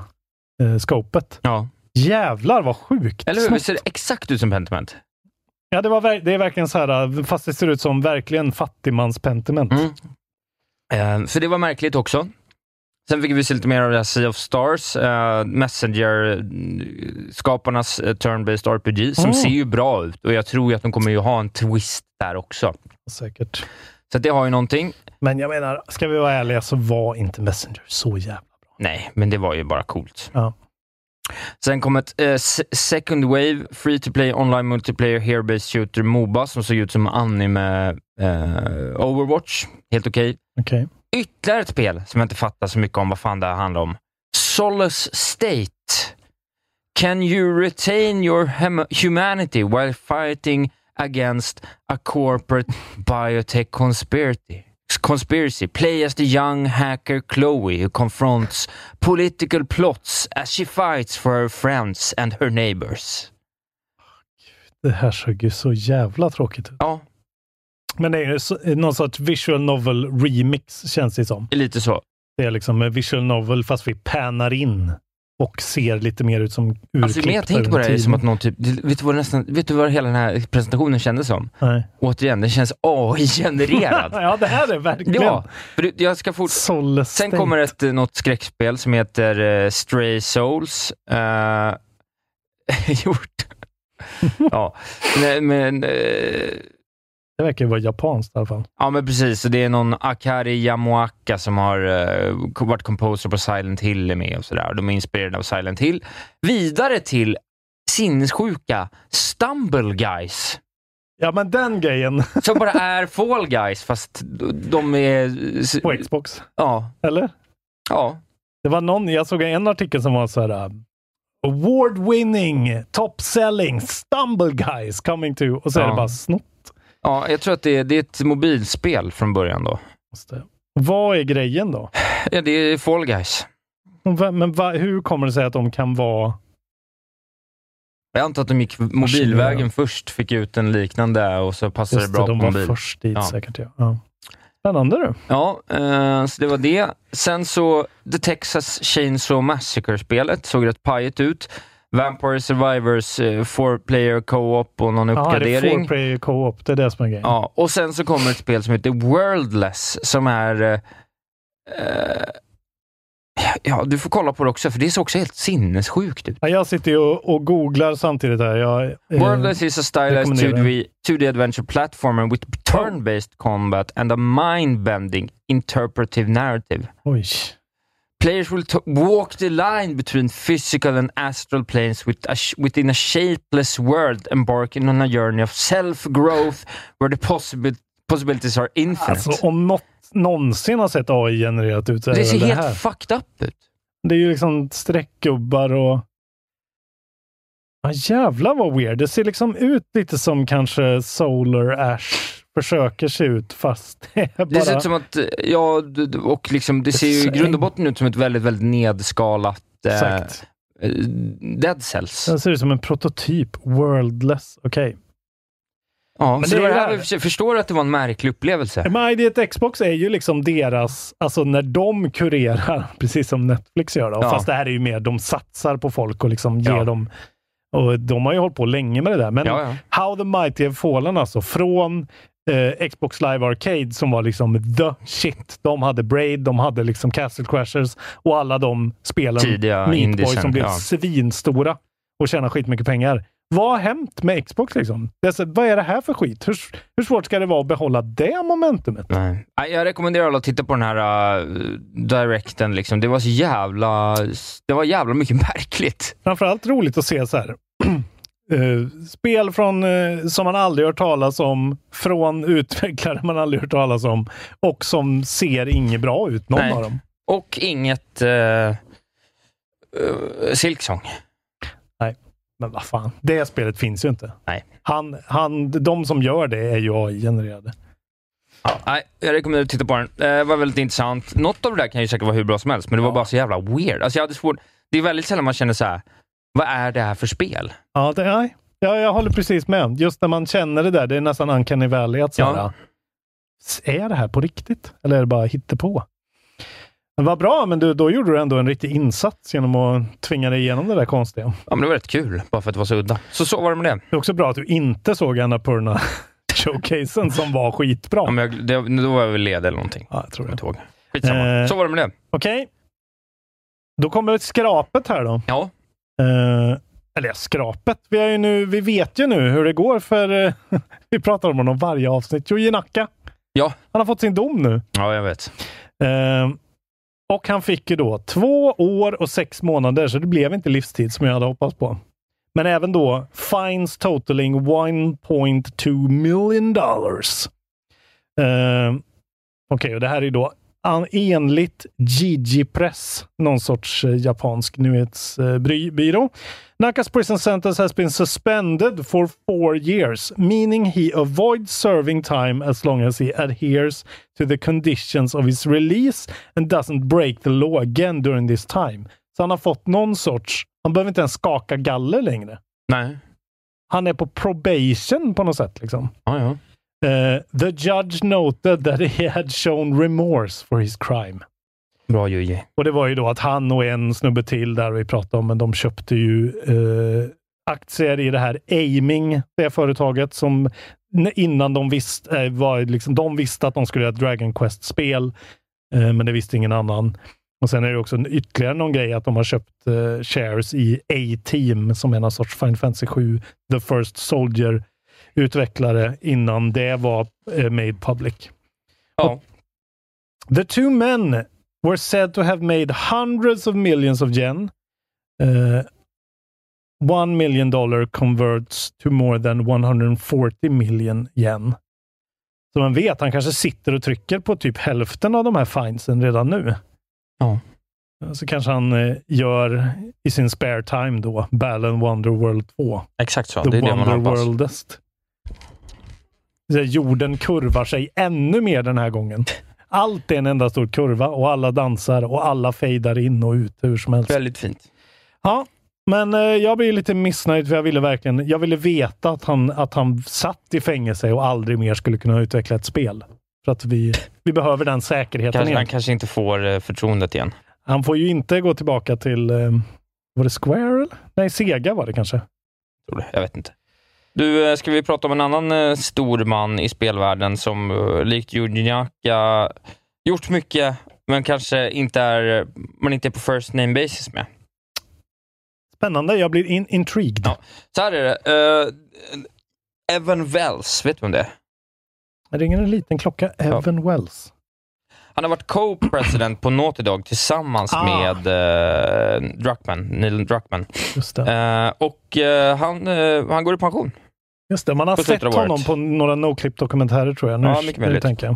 [SPEAKER 4] eh, skopet.
[SPEAKER 5] ja.
[SPEAKER 4] Jävlar vad sjukt!
[SPEAKER 5] Eller hur?
[SPEAKER 4] snyggt.
[SPEAKER 5] Visst ser det exakt ut som Pentiment?
[SPEAKER 4] Ja, det, var, ver- det är verkligen så här, fast det ser ut som verkligen fattigmans-Pentiment.
[SPEAKER 5] Mm. Eh, för det var märkligt också. Sen fick vi se lite mer av det här Sea of Stars, eh, Messenger-skaparnas eh, turn-based RPG, som
[SPEAKER 4] Mm.
[SPEAKER 5] ser ju bra ut och jag tror ju att de kommer ju ha en twist där också.
[SPEAKER 4] Säkert.
[SPEAKER 5] Så att det har ju någonting.
[SPEAKER 4] Men jag menar, ska vi vara ärliga så var inte Messenger så jävla...
[SPEAKER 5] Nej, men det var ju bara coolt.
[SPEAKER 4] Ja.
[SPEAKER 5] Sen kom ett eh, s- Second Wave, Free to Play Online Multiplayer Hero-based Shooter Moba, som såg ut som anime eh, Overwatch. Helt okej.
[SPEAKER 4] Okej.
[SPEAKER 5] ytterligare ett spel som jag inte fattar så mycket om vad fan det här handlar om. Solace State. Can you retain your hem- humanity while fighting against a corporate biotech conspiracy. Conspiracy. Play as the young hacker Chloe who confronts political plots as she fights for her friends and her neighbors.
[SPEAKER 4] Det här såg ju så jävla tråkigt ut.
[SPEAKER 5] Ja,
[SPEAKER 4] Men det är ju så- någon sorts visual novel remix känns det som.
[SPEAKER 5] det är lite så.
[SPEAKER 4] Det är liksom en visual novel fast vi panar in och ser lite mer ut som urklippta
[SPEAKER 5] Alltså, men jag tänker på
[SPEAKER 4] ur
[SPEAKER 5] det här
[SPEAKER 4] tiden.
[SPEAKER 5] som att någon typ, vet du vad, det nästan, vet du vad hela den här presentationen kändes som?
[SPEAKER 4] Nej.
[SPEAKER 5] Återigen, den känns AI-genererad.
[SPEAKER 4] ja, det här är verkligen...
[SPEAKER 5] ja, för det- jag ska fort,
[SPEAKER 4] Sol
[SPEAKER 5] Sen kommer ett eh, något skräckspel som heter eh, Stray Souls. Eh, gjort. ja. Nej, men, eh,
[SPEAKER 4] Det verkar ju vara japanskt i alla fall.
[SPEAKER 5] ja, men precis. Och Det är någon Akari Yamuaka som har eh, ko- varit composer på Silent Hill är med och sådär. De är inspirerade av Silent Hill. Vidare till sinnessjuka Stumble Guys,
[SPEAKER 4] Ja, men den grejen
[SPEAKER 5] som bara är Fall Guys, fast d- de är... s-
[SPEAKER 4] på Xbox,
[SPEAKER 5] Ja,
[SPEAKER 4] eller?
[SPEAKER 5] ja.
[SPEAKER 4] Det var någon, jag såg en artikel som var så här äh, Award winning, top selling, stumble guys coming to. Och så är
[SPEAKER 5] Ja.
[SPEAKER 4] det bara snott.
[SPEAKER 5] ja jag tror att det är, det är ett mobilspel från början då.
[SPEAKER 4] Måste- Vad är grejen då?
[SPEAKER 5] Ja, det är Fall Guys.
[SPEAKER 4] Va- Men va, hur kommer det sig att de kan vara...
[SPEAKER 5] Jag antar att de gick mobilvägen först, fick ut en liknande och så passade
[SPEAKER 4] Just
[SPEAKER 5] det
[SPEAKER 4] det,
[SPEAKER 5] bra
[SPEAKER 4] de
[SPEAKER 5] på
[SPEAKER 4] var
[SPEAKER 5] mobil.
[SPEAKER 4] först dit
[SPEAKER 5] Ja.
[SPEAKER 4] säkert. Ja. Ja. Spännande du.
[SPEAKER 5] Ja, eh, så det var det. Sen så, The Texas Chainsaw Massacre-spelet såg rätt pajigt ut. Vampire Survivors, eh, four player co-op och någon
[SPEAKER 4] Ja, det är
[SPEAKER 5] uppgradering.
[SPEAKER 4] 4-player co-op, det är det som är grejen.
[SPEAKER 5] Ja, och sen så kommer ett spel som heter Worldless, som är... eh, eh, ja, du får kolla på det också, för det ser också helt sinnessjukt ut.
[SPEAKER 4] Ja, Jag sitter ju och, och googlar samtidigt här. Jag, eh,
[SPEAKER 5] Worldless is a stylized
[SPEAKER 4] rekommenderar
[SPEAKER 5] 2D, 2D adventure platformer with turn-based combat and a mind-bending interpretive narrative.
[SPEAKER 4] Oj.
[SPEAKER 5] Players will t- walk the line between physical and astral planes with a sh- within a shapeless world, embarking on a journey of self-growth where the possibil- possibilities are infinite.
[SPEAKER 4] Alltså om något någonsin har sett AI genererat ut så är
[SPEAKER 5] det
[SPEAKER 4] det,
[SPEAKER 5] ser
[SPEAKER 4] väl det
[SPEAKER 5] helt
[SPEAKER 4] här.
[SPEAKER 5] fucked up ut.
[SPEAKER 4] Det är ju liksom streckgubbar och... Ja, jävlar vad weird. Det ser liksom ut lite som kanske Solar Ash försöker se ut, fast det är bara...
[SPEAKER 5] Det ser ut som att, eh, ja, d- d- och liksom, det ser ju i grund och botten ut som ett väldigt, väldigt nedskalat eh,
[SPEAKER 4] Exakt.
[SPEAKER 5] eh, Dead Cells.
[SPEAKER 4] Den ser ut som en prototyp. Worldless. Okej.
[SPEAKER 5] Ja,
[SPEAKER 4] Men
[SPEAKER 5] så
[SPEAKER 4] det
[SPEAKER 5] det var
[SPEAKER 4] är
[SPEAKER 5] det
[SPEAKER 4] det
[SPEAKER 5] här
[SPEAKER 4] här.
[SPEAKER 5] vi försöker- förstår att det var en märklig upplevelse.
[SPEAKER 4] Men ID Xbox är ju liksom deras, alltså när de kurerar, precis som Netflix gör. Då.
[SPEAKER 5] Ja.
[SPEAKER 4] Fast det här är ju mer, de satsar på folk och liksom ger
[SPEAKER 5] Ja.
[SPEAKER 4] dem... Och de har ju hållit på länge med det där. Men
[SPEAKER 5] Ja, ja.
[SPEAKER 4] How the Mighty Have Fallen alltså, från eh, Xbox Live Arcade som var liksom the shit. De hade Braid, de hade liksom Castle Crashers och alla de spelen,
[SPEAKER 5] Tidiga
[SPEAKER 4] Meat Boy,
[SPEAKER 5] indiesen,
[SPEAKER 4] som blev
[SPEAKER 5] ja.
[SPEAKER 4] svinstora och tjänade skitmycket pengar. Vad har hänt med Xbox liksom? Det är så, vad är det här för skit? Hur, hur svårt ska det vara att behålla det momentumet?
[SPEAKER 5] Nej. Nej, Jag rekommenderar alla att titta på den här eh, directen. Liksom. Det var så jävla, det var jävla mycket märkligt.
[SPEAKER 4] Framförallt roligt att se så här. eh, spel från, eh, som man aldrig hört talas om, från utvecklare man aldrig hört talas om och som ser inget bra ut, någon
[SPEAKER 5] Nej.
[SPEAKER 4] av dem.
[SPEAKER 5] Och inget uh, Silksong.
[SPEAKER 4] Men vad fan, det spelet finns ju inte.
[SPEAKER 5] Nej.
[SPEAKER 4] Han, han, de som gör det är ju AI-genererade.
[SPEAKER 5] Nej, jag rekommenderar att titta på den. Eh, Det var väldigt intressant. Något av det där kan ju säkert vara hur bra som helst, men det var bara så jävla weird. Alltså, jag hade svårt. Det är väldigt sällan man känner så här. vad är det här för spel?
[SPEAKER 4] Ja, det, nej. Ja, jag håller precis med. Just när man känner det där, det är nästan uncanny valley. Att så här,
[SPEAKER 5] Ja.
[SPEAKER 4] "S- Är det här på riktigt? Eller är det bara hittepå? Men vad bra, men du, då gjorde du ändå en riktig insats genom att tvinga dig igenom det där konstiga.
[SPEAKER 5] Ja, men det var rätt kul, bara för att det var så udda. Så så var det med det.
[SPEAKER 4] Det är också bra att du inte såg Annapurna showcasen som var skitbra.
[SPEAKER 5] Ja, men jag, det då var jag väl led eller någonting.
[SPEAKER 4] Ja, jag tror
[SPEAKER 5] Jag
[SPEAKER 4] det.
[SPEAKER 5] kommer inte ihåg. Skitsamma.
[SPEAKER 4] Eh.
[SPEAKER 5] Så var det med det.
[SPEAKER 4] Okej. Då kommer skrapet här då.
[SPEAKER 5] Ja.
[SPEAKER 4] Eh, eller ja, skrapet. Vi, är ju nu, vi vet ju nu hur det går för... eh, vi pratar om honom varje avsnitt. Yuji Naka.
[SPEAKER 5] Ja.
[SPEAKER 4] Han har fått sin dom nu.
[SPEAKER 5] Ja, jag vet.
[SPEAKER 4] Eh, och han fick ju då två år och sex månader, så det blev inte livstid som jag hade hoppats på. Men även då fines totaling 1.2 million dollars. Eh, Okej, och det här är ju då an- enligt Gigi Press, någon sorts eh, japansk nyhetsbyrå. Naka's prison sentence has been suspended for four years, meaning he avoids serving time as long as he adheres to the conditions of his release and doesn't break the law again during this time. Så han har fått någon sorts, han behöver inte ens skaka galler längre.
[SPEAKER 5] Nej.
[SPEAKER 4] Han är på probation på något sätt. Liksom.
[SPEAKER 5] Ja, ja.
[SPEAKER 4] Eh, the judge noted that he had shown remorse for his crime.
[SPEAKER 5] Bra Jujje.
[SPEAKER 4] Och det var ju då att han och en snubbe till där vi pratade om, men de köpte ju eh, aktier i det här Aiming, det företaget som n- innan de visste, eh, var liksom, de visste att de skulle göra ett Dragon Quest-spel, eh, men det visste ingen annan. Och sen är det också en- ytterligare någon grej att de har köpt eh, shares i A-Team som är någon sorts Final Fantasy 7, The First Soldier utvecklare innan det var eh, made public.
[SPEAKER 5] Ja.
[SPEAKER 4] The two men were said to have made hundreds of millions of yen. Uh, one million dollar converts to more than 140 million yen. Så man vet, han kanske sitter och trycker på typ hälften av de här finesen redan nu.
[SPEAKER 5] Ja.
[SPEAKER 4] Så kanske han eh, gör i sin spare time då, Balan Wonder World 2.
[SPEAKER 5] Exakt så.
[SPEAKER 4] The
[SPEAKER 5] det är det man hoppas.
[SPEAKER 4] Wonderworldest. Så Jorden kurvar sig ännu mer den här gången. Allt är en enda stor kurva och alla dansar och alla fejdar in och ut hur som helst.
[SPEAKER 5] Väldigt fint.
[SPEAKER 4] Ja, men eh, jag blir lite missnöjd för jag ville verkligen, jag ville veta att han, att han satt i fängelse och aldrig mer skulle kunna utveckla ett spel. För att vi, vi behöver den säkerheten
[SPEAKER 5] Kanske,
[SPEAKER 4] igen.
[SPEAKER 5] han kanske inte får eh, förtroendet igen.
[SPEAKER 4] Han får ju inte gå tillbaka till, eh, var det Square? Eller? Nej, Sega var det kanske.
[SPEAKER 5] Tror du? Jag vet inte. Du, eh, ska vi prata om en annan eh, stor man i spelvärlden som eh, likt Yuji Naka gjort mycket, men kanske inte är, man inte är på first name basis med.
[SPEAKER 4] Spännande, jag blir in, intrigued.
[SPEAKER 5] Ja. Så här är det. eh, Evan Wells, vet du om det är?
[SPEAKER 4] Det ringer en liten klocka. Evan Wells.
[SPEAKER 5] Han har varit co-president på Naughty Dog tillsammans
[SPEAKER 4] Ah.
[SPEAKER 5] med eh, Druckman, Neil Druckman.
[SPEAKER 4] Just det.
[SPEAKER 5] Eh, och eh, han, eh, han går i pension.
[SPEAKER 4] Just det. Man har
[SPEAKER 5] på
[SPEAKER 4] sett
[SPEAKER 5] slutet av
[SPEAKER 4] honom
[SPEAKER 5] året.
[SPEAKER 4] på några NoClip-dokumentärer tror jag. Nu,
[SPEAKER 5] Ja, mycket
[SPEAKER 4] nu
[SPEAKER 5] möjligt.
[SPEAKER 4] tänker jag.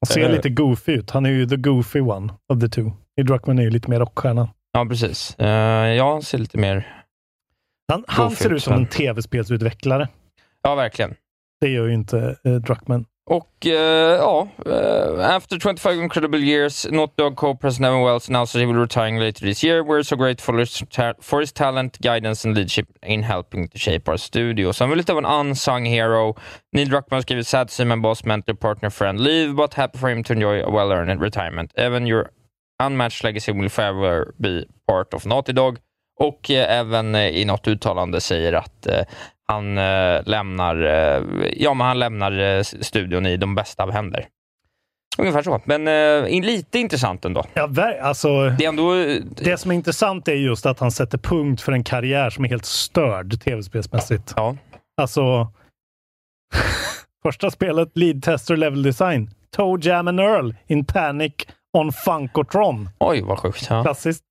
[SPEAKER 4] Han ser
[SPEAKER 5] Eh.
[SPEAKER 4] lite goofy ut. Han är ju the goofy one of the two. I Druckman är ju lite mer rockstjärna.
[SPEAKER 5] Ja, precis. Eh, ja, han ser lite mer...
[SPEAKER 4] Han, han
[SPEAKER 5] Goofy
[SPEAKER 4] ser ut som
[SPEAKER 5] ut,
[SPEAKER 4] en
[SPEAKER 5] ja.
[SPEAKER 4] tv-spelsutvecklare.
[SPEAKER 5] Ja, verkligen.
[SPEAKER 4] Det gör ju inte eh, Druckman.
[SPEAKER 5] Och eh, ja, eh, after 25 incredible years, Naughty Dog co-president Evan Wells announced that he will retiring later this year. We're so grateful for his ta- for his talent, guidance and leadership in helping to shape our studio. Så han var lite av en unsung hero. Neil Druckmann skriver sad to see my boss, mentor, partner, friend leave, but happy for him to enjoy a well-earned retirement. Evan, your unmatched legacy will forever be part of Naughty Dog. Och eh, även eh, i något uttalande säger att eh, han eh, lämnar, eh, ja, men han lämnar eh, studion i de bästa av händer. Ungefär så. Men eh, in, lite intressant ändå.
[SPEAKER 4] Ja, ver- alltså,
[SPEAKER 5] Det är ändå... eh,
[SPEAKER 4] det som är intressant är just att han sätter punkt för en karriär som är helt störd tv-spelsmässigt.
[SPEAKER 5] Ja,
[SPEAKER 4] Alltså... första spelet, Lead Tester Level Design. Toe Jam and Earl in Panic on Funkotron.
[SPEAKER 5] oj vad sjukt. Ja.
[SPEAKER 4] Klassiskt.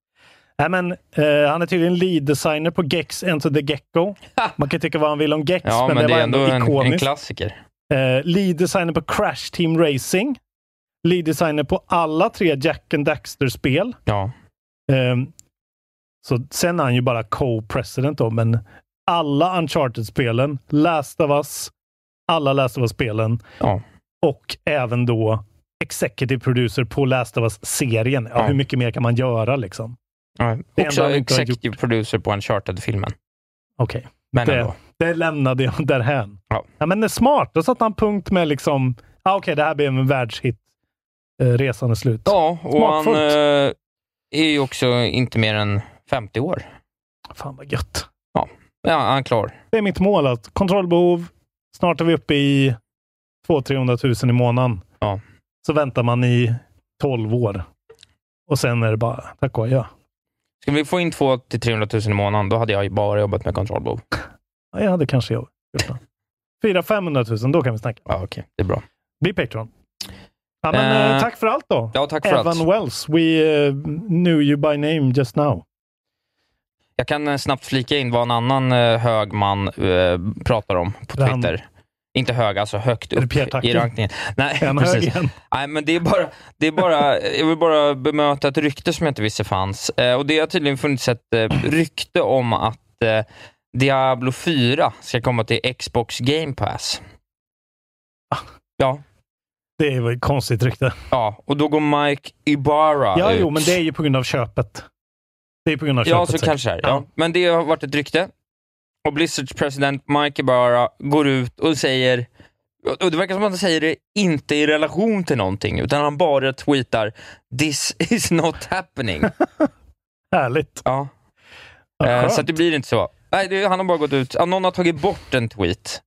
[SPEAKER 4] Nej, men, eh, han är tydligen lead designer på Gex Enter the Gecko. Man kan tycka vad man vill om Gex,
[SPEAKER 5] Ja,
[SPEAKER 4] men, det var ändå,
[SPEAKER 5] en, en
[SPEAKER 4] ikoniskt.
[SPEAKER 5] klassiker.
[SPEAKER 4] eh, lead designer på Crash Team Racing. Lead designer på alla tre Jack and Daxter-spel.
[SPEAKER 5] Ja.
[SPEAKER 4] Ehm, så sen är han ju bara co-president då, men alla Uncharted-spelen, Last of Us, alla Last of Us-spelen
[SPEAKER 5] Ja.
[SPEAKER 4] och även då Executive Producer på Last of Us-serien. Ja,
[SPEAKER 5] Ja.
[SPEAKER 4] Hur mycket mer kan man göra liksom?
[SPEAKER 5] Ja.
[SPEAKER 4] enda
[SPEAKER 5] Också
[SPEAKER 4] han inte har
[SPEAKER 5] executive producer på Uncharted-filmen.
[SPEAKER 4] Okej.
[SPEAKER 5] Men
[SPEAKER 4] det,
[SPEAKER 5] ändå.
[SPEAKER 4] det lämnade jag därhän.
[SPEAKER 5] Ja.
[SPEAKER 4] men det är smart. Då satte han punkt med liksom, ah, okej, det här blev en världshit. Eh, resan är slut.
[SPEAKER 5] Ja, och han
[SPEAKER 4] Smakfullt.
[SPEAKER 5] eh, är ju också inte mer än 50 år.
[SPEAKER 4] Fan vad gött.
[SPEAKER 5] Ja, han är klar.
[SPEAKER 4] Det är mitt mål. Att kontrollbehov. Snart är vi uppe i 200 000 i månaden.
[SPEAKER 5] Ja.
[SPEAKER 4] Så väntar man i 12 år. Och sen är det bara tack och adjö.
[SPEAKER 5] Skulle vi få in 2 till 300 000 i månaden, då hade jag ju bara jobbat med kontrollbehov.
[SPEAKER 4] Ja, jag hade kanske gjort det. 400 000, då kan vi snacka.
[SPEAKER 5] Ja, okej. Det är bra.
[SPEAKER 4] Bli Patreon. Ja, men,
[SPEAKER 5] Eh,
[SPEAKER 4] eh, tack för allt då.
[SPEAKER 5] Ja, tack för
[SPEAKER 4] Evan
[SPEAKER 5] allt.
[SPEAKER 4] Wells. We eh, knew you by name just now.
[SPEAKER 5] Jag kan eh, snabbt flika in vad en annan eh, hög man eh, pratar om på
[SPEAKER 4] Det han-
[SPEAKER 5] Twitter. Inte hög, alltså högt
[SPEAKER 4] Är det
[SPEAKER 5] upp
[SPEAKER 4] Pierre
[SPEAKER 5] i
[SPEAKER 4] Tacke?
[SPEAKER 5] rankingen. Nej,
[SPEAKER 4] En hög
[SPEAKER 5] precis.
[SPEAKER 4] igen.
[SPEAKER 5] Nej, men det är bara, det är bara, jag vill bara bemöta ett rykte som jag inte visste fanns. Eh, och Det har tydligen funnits ett eh, rykte om att eh, Diablo 4 ska komma till Xbox Game Pass.
[SPEAKER 4] Ah.
[SPEAKER 5] Ja,
[SPEAKER 4] Det var ett konstigt rykte.
[SPEAKER 5] ja, och då går Mike Ibarra
[SPEAKER 4] Ja,
[SPEAKER 5] ut.
[SPEAKER 4] jo, men det är ju på grund av köpet. Det är på grund av
[SPEAKER 5] Ja,
[SPEAKER 4] köpet.
[SPEAKER 5] så
[SPEAKER 4] säkert.
[SPEAKER 5] kanske det är. Ja. Men det har varit ett rykte. Och Blizzards president Mike Ibarra går ut och säger, och det verkar som att han säger det inte i relation till någonting, utan han bara tweetar “This is not happening”.
[SPEAKER 4] Härligt.
[SPEAKER 5] ja.
[SPEAKER 4] Ja,
[SPEAKER 5] eh,
[SPEAKER 4] skönt.
[SPEAKER 5] så att det blir inte så. Nej, det, han har bara gått ut, ja, någon har tagit bort en tweet,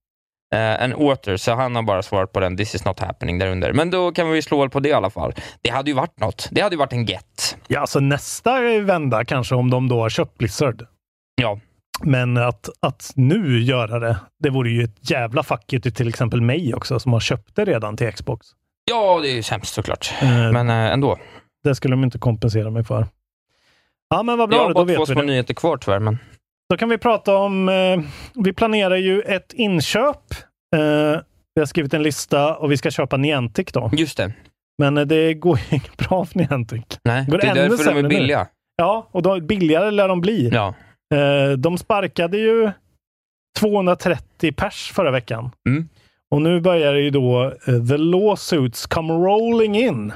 [SPEAKER 5] eh, en åter, så han har bara svarat på den “This is not happening” därunder. Men då kan vi ju slå hål på det i alla fall. Det hade ju varit något. Det hade ju varit en get.
[SPEAKER 4] Ja, så nästa vända kanske om de då har köpt Blizzard.
[SPEAKER 5] Ja.
[SPEAKER 4] Men att, att nu göra det, det vore ju ett jävla fuck you till till exempel mig också som har köpt det redan till Xbox.
[SPEAKER 5] Ja, det är ju sämst såklart.
[SPEAKER 4] Eh,
[SPEAKER 5] Men eh, ändå.
[SPEAKER 4] Det skulle de inte kompensera mig för. Ja, men vad
[SPEAKER 5] jag
[SPEAKER 4] bra,
[SPEAKER 5] har
[SPEAKER 4] då
[SPEAKER 5] bara två
[SPEAKER 4] vet vi
[SPEAKER 5] små
[SPEAKER 4] det.
[SPEAKER 5] nyheter kvar tyvärr, men
[SPEAKER 4] Då kan vi prata om... Eh, vi planerar ju ett inköp. Eh, vi har skrivit en lista och vi ska köpa Niantic då.
[SPEAKER 5] just det.
[SPEAKER 4] Men eh, det går ju inte bra för Niantic.
[SPEAKER 5] Nej,
[SPEAKER 4] Går det
[SPEAKER 5] det är
[SPEAKER 4] ännu
[SPEAKER 5] därför de
[SPEAKER 4] sämre
[SPEAKER 5] är
[SPEAKER 4] nu?
[SPEAKER 5] billiga.
[SPEAKER 4] Ja, och då, billigare lär de bli.
[SPEAKER 5] Ja.
[SPEAKER 4] Eh, de sparkade ju 230 pers förra veckan.
[SPEAKER 5] Mm.
[SPEAKER 4] Och nu börjar ju då eh, the lawsuits come rolling in.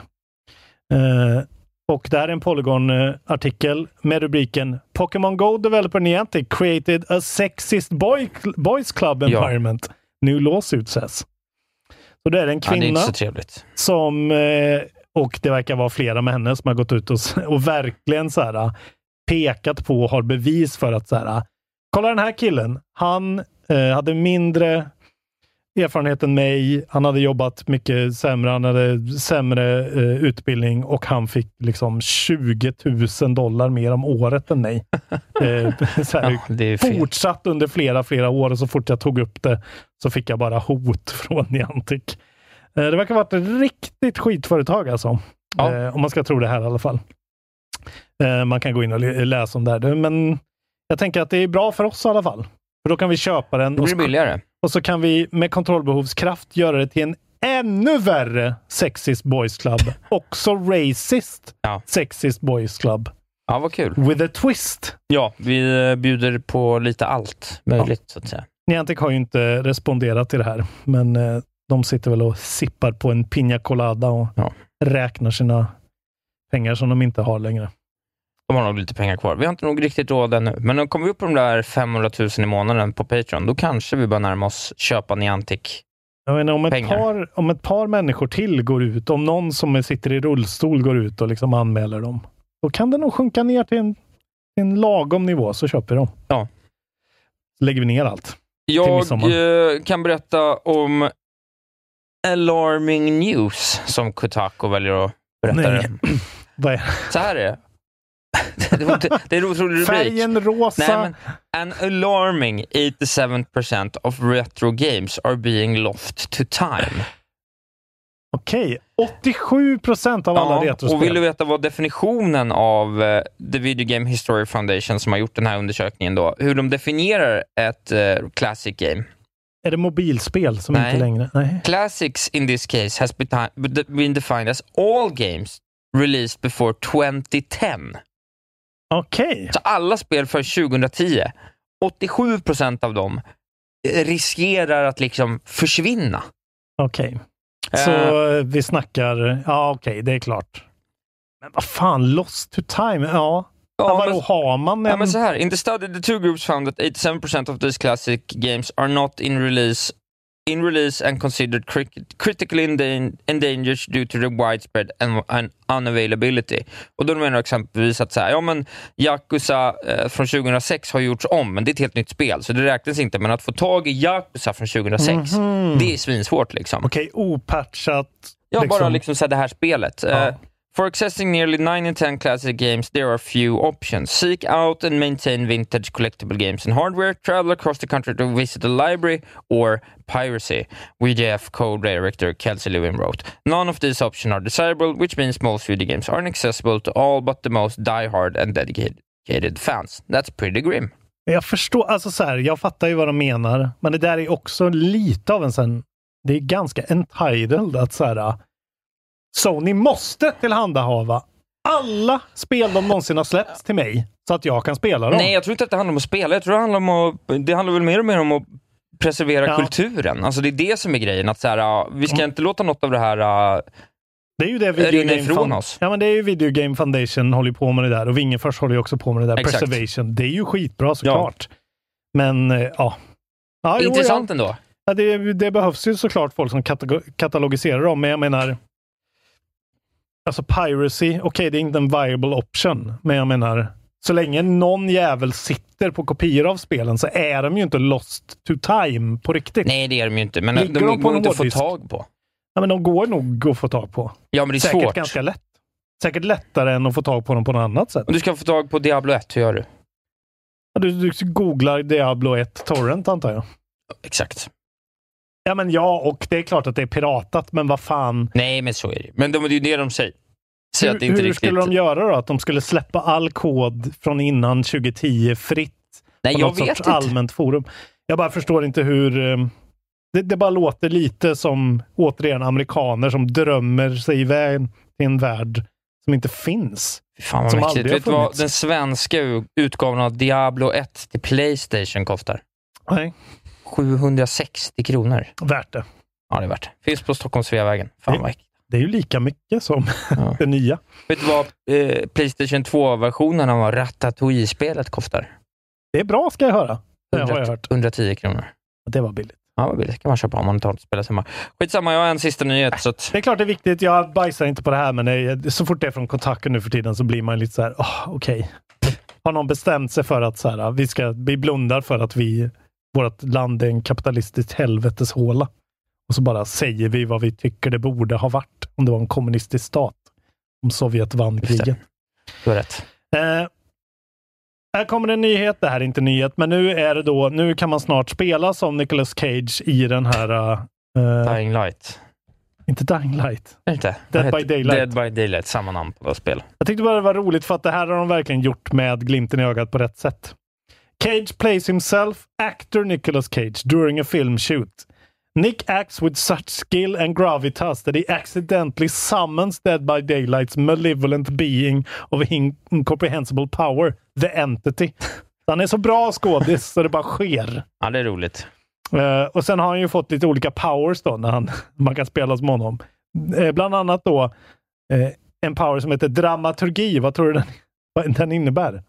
[SPEAKER 4] Eh, och det här är en Polygon-artikel med rubriken Pokémon Go developer Niantic created a sexist boy, boys club
[SPEAKER 5] Ja.
[SPEAKER 4] environment. New lawsuit says. Så det är en
[SPEAKER 5] ja, det är
[SPEAKER 4] kvinna
[SPEAKER 5] inte så trevligt.
[SPEAKER 4] som, eh, och det verkar vara flera med henne som har gått ut och, s- och verkligen så här, eh, pekat på och har bevis för att så här, eh, kolla den här killen, han eh, hade mindre erfarenhet än mig, han hade jobbat mycket sämre, han hade sämre eh, utbildning och han fick liksom 20 000 dollar mer om året än mig. eh, så här,
[SPEAKER 5] Ja, det är fel.
[SPEAKER 4] fortsatt under flera, flera år och så fort jag tog upp det så fick jag bara hot från Niantic. Eh, Det verkar vara ett riktigt skitföretag alltså.
[SPEAKER 5] Ja.
[SPEAKER 4] Eh, Om man ska tro det här i alla fall. Eh, Man kan gå in och lä- läsa om det här. Det- Men jag tänker att det är bra för oss i alla fall. För då kan vi köpa den
[SPEAKER 5] Då
[SPEAKER 4] och
[SPEAKER 5] blir det
[SPEAKER 4] så,
[SPEAKER 5] billigare.
[SPEAKER 4] och så kan vi med kontrollbehovskraft göra det till en ännu värre sexist boys club. Också racist
[SPEAKER 5] Ja.
[SPEAKER 4] sexist boys club.
[SPEAKER 5] Ja, vad kul.
[SPEAKER 4] With a twist.
[SPEAKER 5] Ja, vi eh, bjuder på lite allt möjligt, så att säga.
[SPEAKER 4] Niantic har ju inte responderat till det här, men eh, de sitter väl och sippar på en piña colada och
[SPEAKER 5] Ja.
[SPEAKER 4] räknar sina pengar som de inte har längre.
[SPEAKER 5] De har nog lite pengar kvar. Vi har inte nog riktigt råd ännu, men om kommer vi upp på de där 500 000 i månaden på Patreon, då kanske vi börjar närma oss köpa Niantic.
[SPEAKER 4] Jag menar, om, ett
[SPEAKER 5] Pengar.
[SPEAKER 4] par, om ett par människor till går ut, om någon som sitter i rullstol går ut och liksom anmäler dem, då kan det nog sjunka ner till en, till en lagom nivå, så köper vi dem.
[SPEAKER 5] Ja.
[SPEAKER 4] Så lägger vi ner allt.
[SPEAKER 5] Jag
[SPEAKER 4] midsommar.
[SPEAKER 5] eh, kan berätta om alarming news, som Kotaku väljer att berätta
[SPEAKER 4] Nej.
[SPEAKER 5] det.
[SPEAKER 4] Vad är
[SPEAKER 5] Så här är det. det, var inte- det är en otrolig rubrik.
[SPEAKER 4] Färgen rosa.
[SPEAKER 5] Nej, men an alarming 87% of retro games are being lost to time.
[SPEAKER 4] Okej, 87 procent av alla retrospel.
[SPEAKER 5] och vill du veta vad definitionen av eh, The Video Game History Foundation, som har gjort den här undersökningen, då, hur de definierar ett eh, classic game?
[SPEAKER 4] Är det mobilspel som
[SPEAKER 5] Nej.
[SPEAKER 4] inte längre... Nej.
[SPEAKER 5] Classics in this case has beti- be- been defined as all games released before 2010.
[SPEAKER 4] Okej.
[SPEAKER 5] Så alla spel för 2010, 87% av dem eh, riskerar att liksom försvinna.
[SPEAKER 4] Okej. Så eh, vi snackar... Ja, okej, det är klart. Men vad fan, lost to time? Ja, ja vadå,
[SPEAKER 5] men-
[SPEAKER 4] har man en...
[SPEAKER 5] Ja, men så här. In the study, the two groups found that 87% of these classic games are not in release, in release and considered cri- critically endan- endangered due to the widespread and, and unavailability. Och då menar jag exempelvis att så här, ja, men Yakuza eh, från 2006 har gjorts om, men det är ett helt nytt spel, så det räknas inte. Men att få tag i Yakuza från 2006, det är svinsvårt. Liksom.
[SPEAKER 4] Okej, opatchat.
[SPEAKER 5] Ja,
[SPEAKER 4] liksom.
[SPEAKER 5] bara liksom så här, det här spelet.
[SPEAKER 4] Ja.
[SPEAKER 5] Eh, for accessing nearly 9 in 10 classic games there are few options. Seek out and maintain vintage collectible games and hardware, travel across the country to visit a library or piracy. WGF co-director Kelsey Lewin wrote. None of these options are desirable, which means most video games aren't accessible to all but the most die-hard and dedicated fans. That's pretty grim.
[SPEAKER 4] Jag förstår, alltså så här, jag fattar ju vad de menar, men det där är också lite av en sen... Det är ganska entitled att så här, Sony måste tillhandahava alla spel de någonsin har släppt till mig, så att jag kan spela dem.
[SPEAKER 5] Nej, jag tror inte att det handlar om att spela. Jag tror det handlar, om att, det handlar väl mer och mer om att preservera
[SPEAKER 4] Ja.
[SPEAKER 5] kulturen. Alltså det är det som är grejen. Att så här, ah, vi ska inte låta något av det här... ah,
[SPEAKER 4] det är ju det
[SPEAKER 5] rinner
[SPEAKER 4] Video Game
[SPEAKER 5] ifrån
[SPEAKER 4] Fun-
[SPEAKER 5] oss.
[SPEAKER 4] Ja, men det är ju Video Game Foundation håller ju på med det där och Wingefors håller ju också på med det där.
[SPEAKER 5] Exakt.
[SPEAKER 4] Preservation. Det är ju skitbra såklart. Men eh, ja. ja jo,
[SPEAKER 5] intressant ändå.
[SPEAKER 4] Ja, ja, det, det behövs ju såklart folk som katago- katalogiserar dem, men jag menar Alltså piracy, okej det är inte en viable option, men jag menar så länge någon jävel sitter på kopior av spelen så är de ju inte lost to time på riktigt.
[SPEAKER 5] Nej, det är de ju inte. Men
[SPEAKER 4] Ligger
[SPEAKER 5] de
[SPEAKER 4] de på
[SPEAKER 5] går
[SPEAKER 4] en
[SPEAKER 5] inte att få
[SPEAKER 4] hårddisk?
[SPEAKER 5] tag på.
[SPEAKER 4] Ja, men de går nog att få tag på.
[SPEAKER 5] Ja, men det är
[SPEAKER 4] Säkert
[SPEAKER 5] svårt.
[SPEAKER 4] ganska lätt. Säkert lättare än att få tag på dem på något annat sätt.
[SPEAKER 5] Om du ska få tag på Diablo 1, hur gör du?
[SPEAKER 4] Ja, Du, du googlar Diablo 1 Torrent antar jag.
[SPEAKER 5] Exakt.
[SPEAKER 4] Ja, men ja, och det är klart att det är piratat, men vad fan.
[SPEAKER 5] Nej, men så är det ju. Men de, det är ju det de säger. Säger
[SPEAKER 4] Hur,
[SPEAKER 5] att det inte
[SPEAKER 4] hur
[SPEAKER 5] riktigt...
[SPEAKER 4] skulle de göra då? Att de skulle släppa all kod från innan 2010 fritt?
[SPEAKER 5] Nej,
[SPEAKER 4] på
[SPEAKER 5] jag
[SPEAKER 4] något
[SPEAKER 5] vet
[SPEAKER 4] sorts
[SPEAKER 5] inte.
[SPEAKER 4] allmänt forum. Jag bara förstår inte hur... eh, Det, det bara låter lite som, återigen, amerikaner som drömmer sig iväg till en värld som inte finns.
[SPEAKER 5] Fy Fan vad
[SPEAKER 4] Som
[SPEAKER 5] mäktigt.
[SPEAKER 4] aldrig har
[SPEAKER 5] Vet du vad
[SPEAKER 4] funnits.
[SPEAKER 5] den svenska u- utgåvan av Diablo 1 till Playstation kostar?
[SPEAKER 4] Nej.
[SPEAKER 5] 760 kronor.
[SPEAKER 4] Värt det.
[SPEAKER 5] Ja, det är värt det. Finns på Stockholm Sveavägen. Fan vad äckligt.
[SPEAKER 4] Det är ju lika mycket som
[SPEAKER 5] Ja.
[SPEAKER 4] det nya.
[SPEAKER 5] Vet du vad eh, Playstation 2-versionen av Ratatouille-spelet kostar?
[SPEAKER 4] Det är bra ska jag höra. Det har jag
[SPEAKER 5] 100
[SPEAKER 4] hört.
[SPEAKER 5] 110 kronor.
[SPEAKER 4] Det var billigt.
[SPEAKER 5] Ja, vad billigt. kan man köpa om man inte har något att spela hemma. Skitsamma, jag har en sista nyhet. Så att,
[SPEAKER 4] Det är klart det är viktigt. Jag bajsar inte på det här, men det är, så fort det är från kontakten nu för tiden så blir man lite så här, "Åh, okej. Har någon bestämt sig för att så här, vi, ska, vi blundar för att vi, vårt land är en kapitalistisk helveteshåla. Och så bara säger vi vad vi tycker det borde ha varit om det var en kommunistisk stat. Om Sovjet vann
[SPEAKER 5] Just det.
[SPEAKER 4] kriget.
[SPEAKER 5] du har rätt.
[SPEAKER 4] Eh, här kommer en nyhet. Det här är inte en nyhet, men nu är det då, nu kan man snart spela som Nicolas Cage i den här, eh,
[SPEAKER 5] Dying Light.
[SPEAKER 4] inte Dying Light.
[SPEAKER 5] Är det inte?
[SPEAKER 4] Dead
[SPEAKER 5] Vad
[SPEAKER 4] by
[SPEAKER 5] heter-
[SPEAKER 4] Daylight.
[SPEAKER 5] Dead by Daylight, samma namn på det spel.
[SPEAKER 4] Jag tyckte bara det var roligt för att det här har de verkligen gjort med glimten i ögat på rätt sätt. Cage plays himself, actor Nicolas Cage, during a film shoot. Nick acts with such skill and gravitas that he accidentally summons Dead by Daylight's malevolent being of in- incomprehensible power, the entity. Så Han är så bra skådis så det bara sker.
[SPEAKER 5] Ja, det är roligt.
[SPEAKER 4] Eh, och sen har han ju fått lite olika powers då, när han, man kan spela som honom. Eh, bland annat då eh, en power som heter dramaturgi. Vad tror du den, vad den innebär?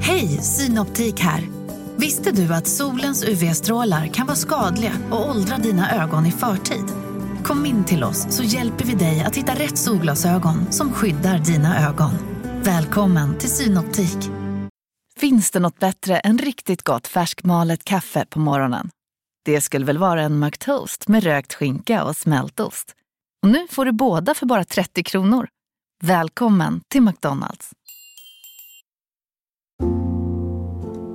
[SPEAKER 6] Hej, Synoptik här. Visste du att solens UV-strålar kan vara skadliga och åldra dina ögon i förtid? Kom in till oss så hjälper vi dig att hitta rätt solglasögon som skyddar dina ögon. Välkommen till Synoptik. Finns det något bättre än riktigt gott färskmalet kaffe på morgonen? Det skulle väl vara en McToast med rökt skinka och smältost? Och nu får du båda för bara 30 kronor. Välkommen till McDonalds.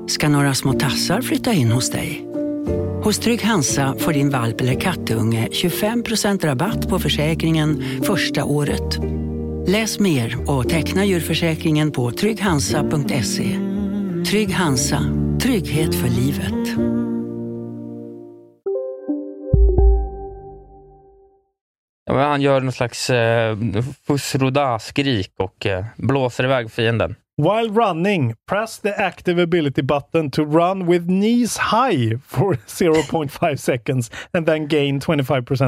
[SPEAKER 7] ska några små tassar flytta in hos dig. Hos Trygg Hansa får din valp eller kattunge 25% rabatt på försäkringen första året. Läs mer och teckna djurförsäkringen på trygghansa.se. Trygg Hansa, trygghet för livet.
[SPEAKER 5] Ja, men han gör någon slags eh, fussroda-skrik och eh, blåser iväg fienden.
[SPEAKER 4] While running, press the active ability button to run with knees high for 0.5 seconds and then gain 25%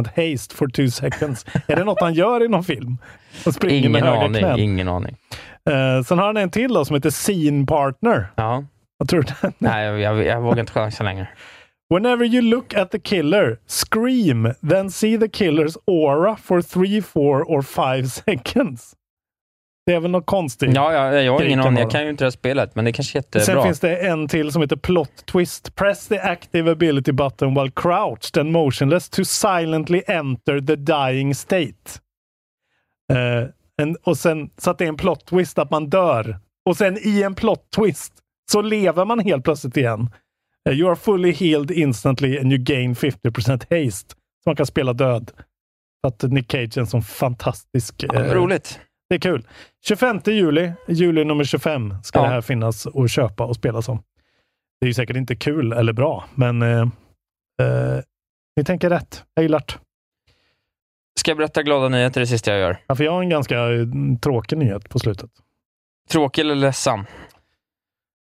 [SPEAKER 4] haste for 2 seconds. Är det något han gör i någon film? Och springer med
[SPEAKER 5] Ingen
[SPEAKER 4] höga
[SPEAKER 5] aning,
[SPEAKER 4] knän.
[SPEAKER 5] ingen aning.
[SPEAKER 4] Eh, sen har han en till då som heter Scene Partner.
[SPEAKER 5] Ja.
[SPEAKER 4] Vad tror du den
[SPEAKER 5] Nej, jag, jag, jag vågar inte chansa längre.
[SPEAKER 4] Whenever you look at the killer, scream, then see the killer's aura for three, four or five seconds. Det är väl något konstigt.
[SPEAKER 5] Ja, ja, jag har
[SPEAKER 4] Skriker
[SPEAKER 5] ingen aning.
[SPEAKER 4] bara.
[SPEAKER 5] Jag kan ju inte det här spelet, men det kanske är
[SPEAKER 4] Sen
[SPEAKER 5] jättebra.
[SPEAKER 4] finns det en till som heter Plot Twist. Press the active ability button while crouched and motionless to silently enter the dying state. Eh, en, och sen, så att det är en plot twist att man dör. Och sen i en plot twist så lever man helt plötsligt igen. Eh, you are fully healed instantly and you gain 50% haste. Så man kan spela död. Så att Nick Cage är en sån fantastisk...
[SPEAKER 5] Ja,
[SPEAKER 4] eh,
[SPEAKER 5] roligt.
[SPEAKER 4] Det är kul. 25 juli, juli nummer 25, ska
[SPEAKER 5] Ja.
[SPEAKER 4] det här finnas att köpa och spela som. Det är ju säkert inte kul eller bra, men eh, eh, ni tänker rätt. Jag gillar det.
[SPEAKER 5] Ska jag berätta glada nyheter det sista jag gör?
[SPEAKER 4] Ja, för jag har en ganska eh, tråkig nyhet på slutet.
[SPEAKER 5] Tråkig eller ledsam?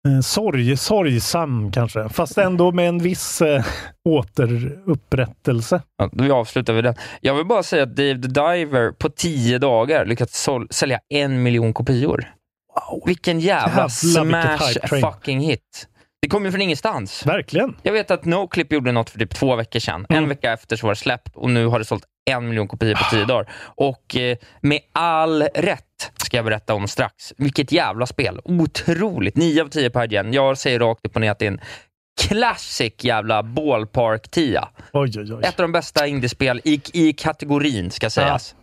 [SPEAKER 4] Eh, Sorg, sorgsam kanske, fast ändå med en viss eh, återupprättelse.
[SPEAKER 5] Ja, då avslutar vi den. Jag vill bara säga att Dave the Diver på tio dagar lyckats sål- sälja en miljon kopior. Vilken
[SPEAKER 4] Jävlar,
[SPEAKER 5] jävla
[SPEAKER 4] vilket
[SPEAKER 5] smash
[SPEAKER 4] hype train.
[SPEAKER 5] fucking hit. Det kom ju från ingenstans.
[SPEAKER 4] Verkligen.
[SPEAKER 5] Jag vet att Noclip gjorde något för typ två veckor sedan.
[SPEAKER 4] Mm.
[SPEAKER 5] En vecka efter så var det släppt och nu har det sålt en miljon kopior på tio dagar. Och eh, med all rätt ska jag berätta om strax. Vilket jävla spel. Otroligt. Nio av tio på IGN. Jag säger rakt upp och ner att det är en classic jävla ballpark-tia.
[SPEAKER 4] Oj, oj, oj.
[SPEAKER 5] Ett av de bästa indiespel i, i kategorin, ska sägas.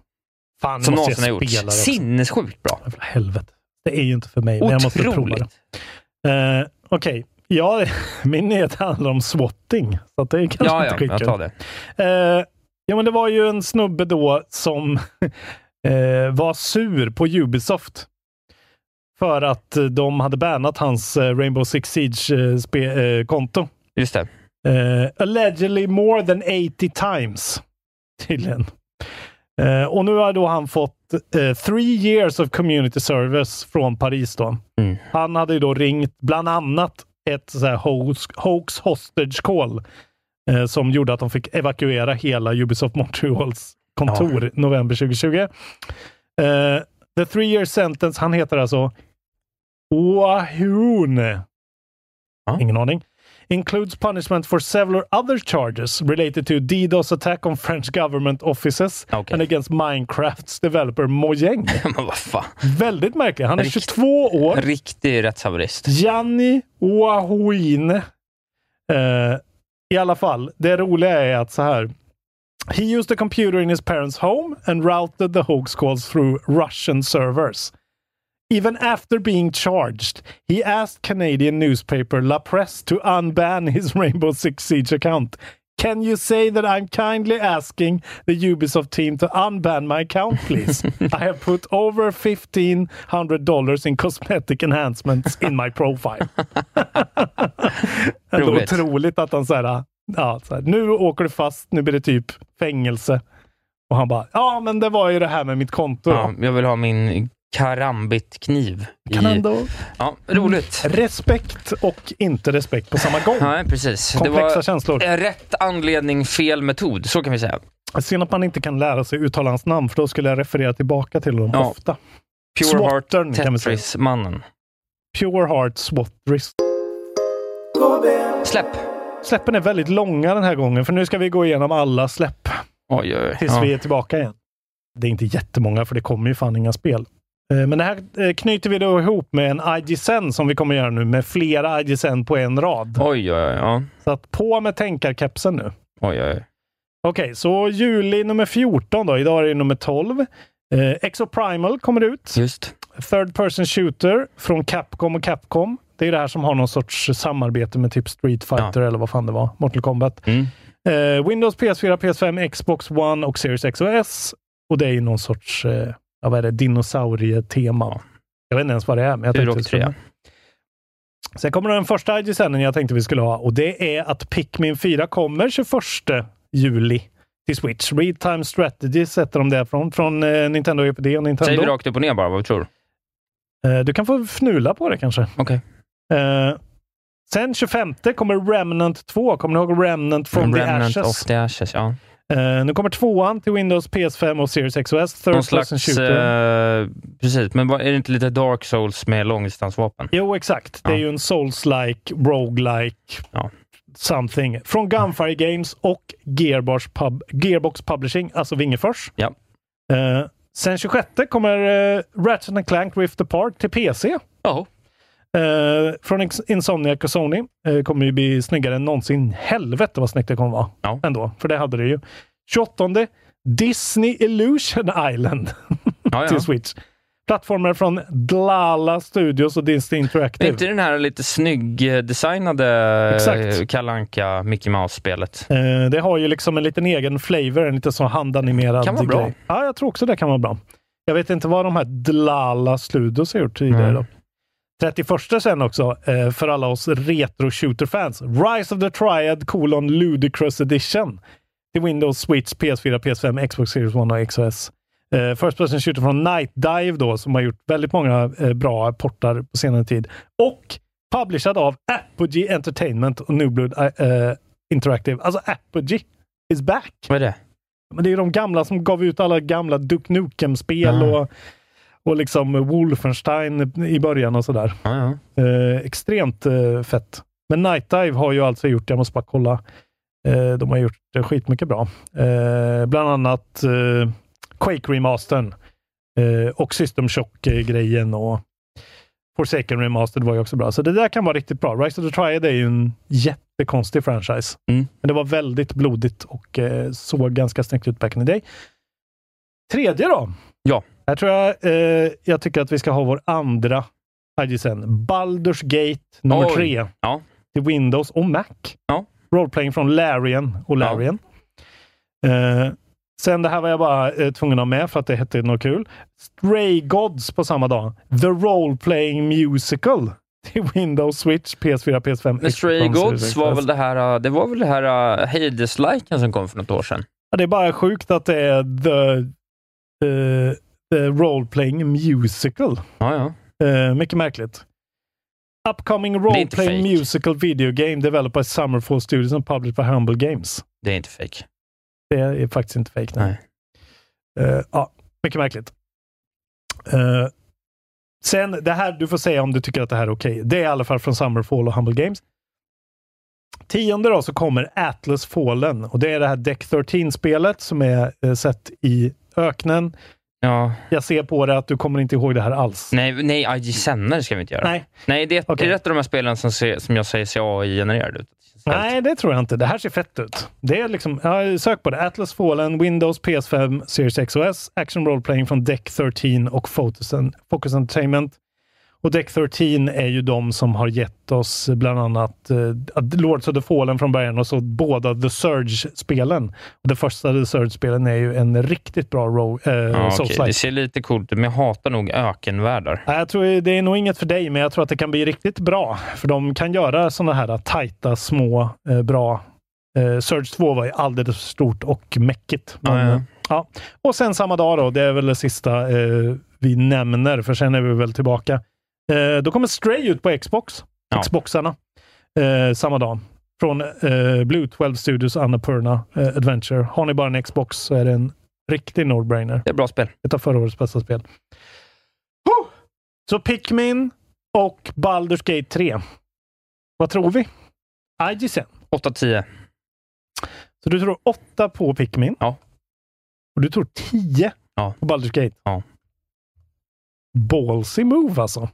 [SPEAKER 4] Fan,
[SPEAKER 5] som
[SPEAKER 4] måste jag
[SPEAKER 5] någonsin har gjorts.
[SPEAKER 4] spela det också.
[SPEAKER 5] Sinnessjukt bra.
[SPEAKER 4] Jävla helvete. Det är ju inte för mig, men jag måste prova det.
[SPEAKER 5] Otroligt.
[SPEAKER 4] Eh, Okej, ja, min nyhet handlar om swatting. Så att det är kanske
[SPEAKER 5] Ja,
[SPEAKER 4] inte
[SPEAKER 5] ja,
[SPEAKER 4] skitkul.
[SPEAKER 5] jag tar det.
[SPEAKER 4] Eh, ja, men det var ju en snubbe då som eh, var sur på Ubisoft för att eh, de hade bannat hans eh, Rainbow Six eh, Siege-konto.
[SPEAKER 5] Just det.
[SPEAKER 4] Eh, allegedly more than 80 times. Tydligen. Eh, och nu har då han fått eh, three years of community service från Paris. Då.
[SPEAKER 5] Mm.
[SPEAKER 4] Han hade ju då ringt bland annat ett så här hoax, hoax hostage call eh, som gjorde att de fick evakuera hela Ubisoft Montreals kontor i november 2020. Eh, the three year sentence, han heter alltså Wahoon. Ingen aning. includes punishment for several other charges related to DDoS attack on French government offices
[SPEAKER 5] Okej.
[SPEAKER 4] and against Minecrafts developer Mojang.
[SPEAKER 5] Men vad fan.
[SPEAKER 4] Väldigt märkligt. Han är
[SPEAKER 5] Rikt-
[SPEAKER 4] 22 år.
[SPEAKER 5] Riktig rättshaverist.
[SPEAKER 4] Gianni Oahuine. Eh, I alla fall, det roliga är att så här. He used a computer in his parents home and routed the hoax calls through Russian servers. Even after being charged, he asked Canadian newspaper La Presse to unban his Rainbow Six Siege account. Can you say that I'm kindly asking the Ubisoft team to unban my account, please? I have put over $1,500 in cosmetic enhancements in my profile. Ändå
[SPEAKER 5] Roligt.
[SPEAKER 4] otroligt att han så här, ja, så här, nu åker du fast, nu blir det typ fängelse. Och han bara, ja men det var ju det här med mitt konto. då."
[SPEAKER 5] Ja, jag vill ha min karambit-kniv. i-
[SPEAKER 4] Kan ändå
[SPEAKER 5] Ja, roligt.
[SPEAKER 4] Mm. Respekt och inte respekt på samma gång.
[SPEAKER 5] Nej, precis.
[SPEAKER 4] Mm. Komplexa
[SPEAKER 5] det
[SPEAKER 4] känslor.
[SPEAKER 5] var eh, rätt anledning, fel metod. Så kan vi säga.
[SPEAKER 4] Synd att man inte kan lära sig uttala hans namn, för då skulle jag referera tillbaka till honom
[SPEAKER 5] Ja.
[SPEAKER 4] ofta.
[SPEAKER 5] Pure
[SPEAKER 4] Swattern,
[SPEAKER 5] Heart
[SPEAKER 4] kan vi säga.
[SPEAKER 5] Tetris-mannen.
[SPEAKER 4] Pure Heart Swat Risk.
[SPEAKER 5] Släpp!
[SPEAKER 4] Släppen är väldigt långa den här gången, för nu ska vi gå igenom alla släpp
[SPEAKER 5] Oj, oj, oj.
[SPEAKER 4] tills
[SPEAKER 5] Ja.
[SPEAKER 4] vi är tillbaka igen. Det är inte jättemånga, för det kommer ju fan inga spel. Eh, Men det här eh, knyter vi då ihop med en IGSN som vi kommer göra nu, med flera IGSN på en rad.
[SPEAKER 5] Oj, oj, oj. Ja.
[SPEAKER 4] Så att på med tänkarkepsen nu.
[SPEAKER 5] Oj, oj, oj.
[SPEAKER 4] Okej, så juli nummer 14 då. Idag är det nummer 12. Eh, Exoprimal kommer ut.
[SPEAKER 5] Just.
[SPEAKER 4] Third Person Shooter från Capcom och Capcom. Det är det här som har någon sorts samarbete med typ Street Fighter eller vad fan det var. Mortal Kombat.
[SPEAKER 5] Mm.
[SPEAKER 4] Eh, Windows, PS4, PS5, Xbox One och Series X och S. Och det är ju någon sorts eh, ja, vad är det, dinosaurietema. Jag vet inte ens vad det är, men jag
[SPEAKER 5] Fyra
[SPEAKER 4] tänkte
[SPEAKER 5] och
[SPEAKER 4] det skulle
[SPEAKER 5] tre.
[SPEAKER 4] Sen kommer den första IGSN jag tänkte vi skulle ha och det är att Pikmin 4 kommer 21 juli till Switch. Real Time Strategy sätter de därifrån, från eh, Nintendo EPD och
[SPEAKER 5] Säger vi
[SPEAKER 4] Nintendo.
[SPEAKER 5] rakt upp och ner bara vad vi tror.
[SPEAKER 4] Eh, du kan få fnula på det kanske.
[SPEAKER 5] Okej.
[SPEAKER 4] Eh, sen 25 kommer Remnant 2. Kommer ni ihåg Remnant from
[SPEAKER 5] Remnant
[SPEAKER 4] the Ashes?
[SPEAKER 5] of the Ashes, ja.
[SPEAKER 4] Eh, nu kommer tvåan till Windows, PS5 och Series X och S. Third
[SPEAKER 5] Någon
[SPEAKER 4] person
[SPEAKER 5] slags...
[SPEAKER 4] shooter.
[SPEAKER 5] Eh, precis, men vad- är det inte lite Dark Souls med långdistansvapen?
[SPEAKER 4] Jo, exakt. Det är
[SPEAKER 5] Ja.
[SPEAKER 4] ju en Souls-like, Rogue-like,
[SPEAKER 5] Ja.
[SPEAKER 4] something. Från Gunfire Games och Gearbox, Pub Gearbox Publishing, alltså Vingefors.
[SPEAKER 5] Ja.
[SPEAKER 4] Eh, sen 26 kommer eh, Ratchet and Clank Rift Apart till PC.
[SPEAKER 5] Ja.
[SPEAKER 4] Eh, från Ins- Insomniac och Sony. Eh, kommer ju bli snyggare än någonsin. Helvete vad snyggt det kommer vara.
[SPEAKER 5] Ja.
[SPEAKER 4] Ändå, för det hade det ju. 28 Disney Illusion Island
[SPEAKER 5] Ja,
[SPEAKER 4] till
[SPEAKER 5] ja.
[SPEAKER 4] Switch. Plattformar från Dlala Studios och Disney
[SPEAKER 5] Är
[SPEAKER 4] Interactive.
[SPEAKER 5] inte den här lite snyggdesignade eh,
[SPEAKER 4] Exakt.
[SPEAKER 5] Kalanka Mickey Mouse-spelet?
[SPEAKER 4] Eh, det har ju liksom en liten egen flavor, en liten sån handanimerad
[SPEAKER 5] Kan vara bra.
[SPEAKER 4] grej. Ja, jag tror också det kan vara bra. Jag vet inte vad de här Dlala Sludos har gjort tidigare.
[SPEAKER 5] Nej.
[SPEAKER 4] Då. 31 sen också, eh, för alla oss retro shooter-fans. Rise of the Triad colon Ludicrous Edition. Till Windows, Switch, PS4, PS5, Xbox Series One och XOS. Eh, First Person Shooter från Night Dive då, som har gjort väldigt många eh, bra portar på senare tid. Och publicerad av Apogee Entertainment och Newblood eh, eh, Interactive. Alltså Apogee is back!
[SPEAKER 5] Vad är det?
[SPEAKER 4] Men det är ju de gamla som gav ut alla gamla Duck Nukem-spel
[SPEAKER 5] Ja.
[SPEAKER 4] och, och liksom Wolfenstein i början och sådär.
[SPEAKER 5] Ja, ja.
[SPEAKER 4] Eh, extremt eh, fett. Men Night Dive har ju alltså gjort, jag måste bara kolla, eh, de har gjort eh, skitmycket bra. Eh, bland annat eh, Quake Remastern eh, och System Shock-grejen och Forsaken Remastered var ju också bra. Så det där kan vara riktigt bra. Rise of the Triad är ju en jättekonstig franchise.
[SPEAKER 5] Mm.
[SPEAKER 4] Men det var väldigt blodigt och eh, såg ganska snyggt ut back in the day. Tredje då.
[SPEAKER 5] Ja.
[SPEAKER 4] Här tror jag, eh, jag tycker att vi ska ha vår andra IGSN. Baldur's Gate nummer
[SPEAKER 5] Oj.
[SPEAKER 4] tre.
[SPEAKER 5] Ja.
[SPEAKER 4] Till Windows och Mac.
[SPEAKER 5] Ja.
[SPEAKER 4] Roleplaying från Larian och Larian. Eh, sen det här var jag bara eh, tvungen att ha med för att det hette något kul. Stray Gods på samma dag. The Roleplaying Musical. Till Windows, Switch, PS4, PS5,
[SPEAKER 5] Men Stray
[SPEAKER 4] Xbox Series
[SPEAKER 5] Gods var
[SPEAKER 4] X.
[SPEAKER 5] väl det här, uh, det var väl det här uh, Hades-liken som kom för något år sedan?
[SPEAKER 4] Ja, det är bara sjukt att det är the, eh, the Roleplaying Musical.
[SPEAKER 5] Ja, ja.
[SPEAKER 4] Eh, mycket märkligt. Upcoming
[SPEAKER 5] är inte
[SPEAKER 4] Roleplaying
[SPEAKER 5] fake.
[SPEAKER 4] Musical Video Game developed by Summerfall Studios and published by Humble Games.
[SPEAKER 5] Det är inte fake.
[SPEAKER 4] Det är faktiskt inte fake.
[SPEAKER 5] Nej.
[SPEAKER 4] Eh, ja, mycket märkligt. Eh, sen, det här, du får säga om du tycker att det här är okej. Det är i alla fall från Summerfall och Humble Games. Tionde då så kommer Atlas Fallen och det är det här Deck 13-spelet som är eh, sett i öknen.
[SPEAKER 5] Ja.
[SPEAKER 4] Jag ser på det att du kommer inte ihåg det här alls.
[SPEAKER 5] Nej, nej IG-sändare ska vi inte göra. Nej,
[SPEAKER 4] Nej,
[SPEAKER 5] det är
[SPEAKER 4] Okej.
[SPEAKER 5] det är ett av de här spelen som, ser, som jag säger ser AI-genererade ut.
[SPEAKER 4] Nej, det tror jag inte. Det här ser fett ut. Det är liksom, ja, sök på det. Atlas Fallen, Windows, PS5, Series XOS, Action Role Playing från Deck 13 och Focus, Focus Entertainment. Och Deck 13 är ju de som har gett oss bland annat eh, Lords of the Fallen från början och så båda The Surge-spelen. Och Det första The Surge-spelen är ju en riktigt bra row, eh,
[SPEAKER 5] Ja, okej.
[SPEAKER 4] Souls-like.
[SPEAKER 5] Det ser lite coolt ut, men jag hatar nog ökenvärldar.
[SPEAKER 4] Nej, Jag tror det är nog inget för dig, men jag tror att det kan bli riktigt bra. För de kan göra sådana här tajta, små, eh, bra. Eh, Surge 2 var ju alldeles för stort och mäckigt. Men,
[SPEAKER 5] Ja, ja.
[SPEAKER 4] eh, ja. Och sen samma dag då, det är väl det sista eh, vi nämner, för sen är vi väl tillbaka. Eh, då kommer Stray ut på Xbox.
[SPEAKER 5] Ja.
[SPEAKER 4] Xboxarna. Eh, samma dag. Från eh, Blue 12 Studios Annapurna eh, Adventure. Har ni bara en Xbox så är det en riktig no-brainer.
[SPEAKER 5] Det är bra spel.
[SPEAKER 4] Ett av förra årets bästa spel. Huh! Så Pikmin och Baldur's Gate 3. Vad tror vi? IGCN.
[SPEAKER 5] 8-10.
[SPEAKER 4] Så du tror 8 på Pikmin.
[SPEAKER 5] Ja.
[SPEAKER 4] Och du tror 10
[SPEAKER 5] Ja.
[SPEAKER 4] på Baldur's Gate.
[SPEAKER 5] Ja.
[SPEAKER 4] Ballsy move alltså.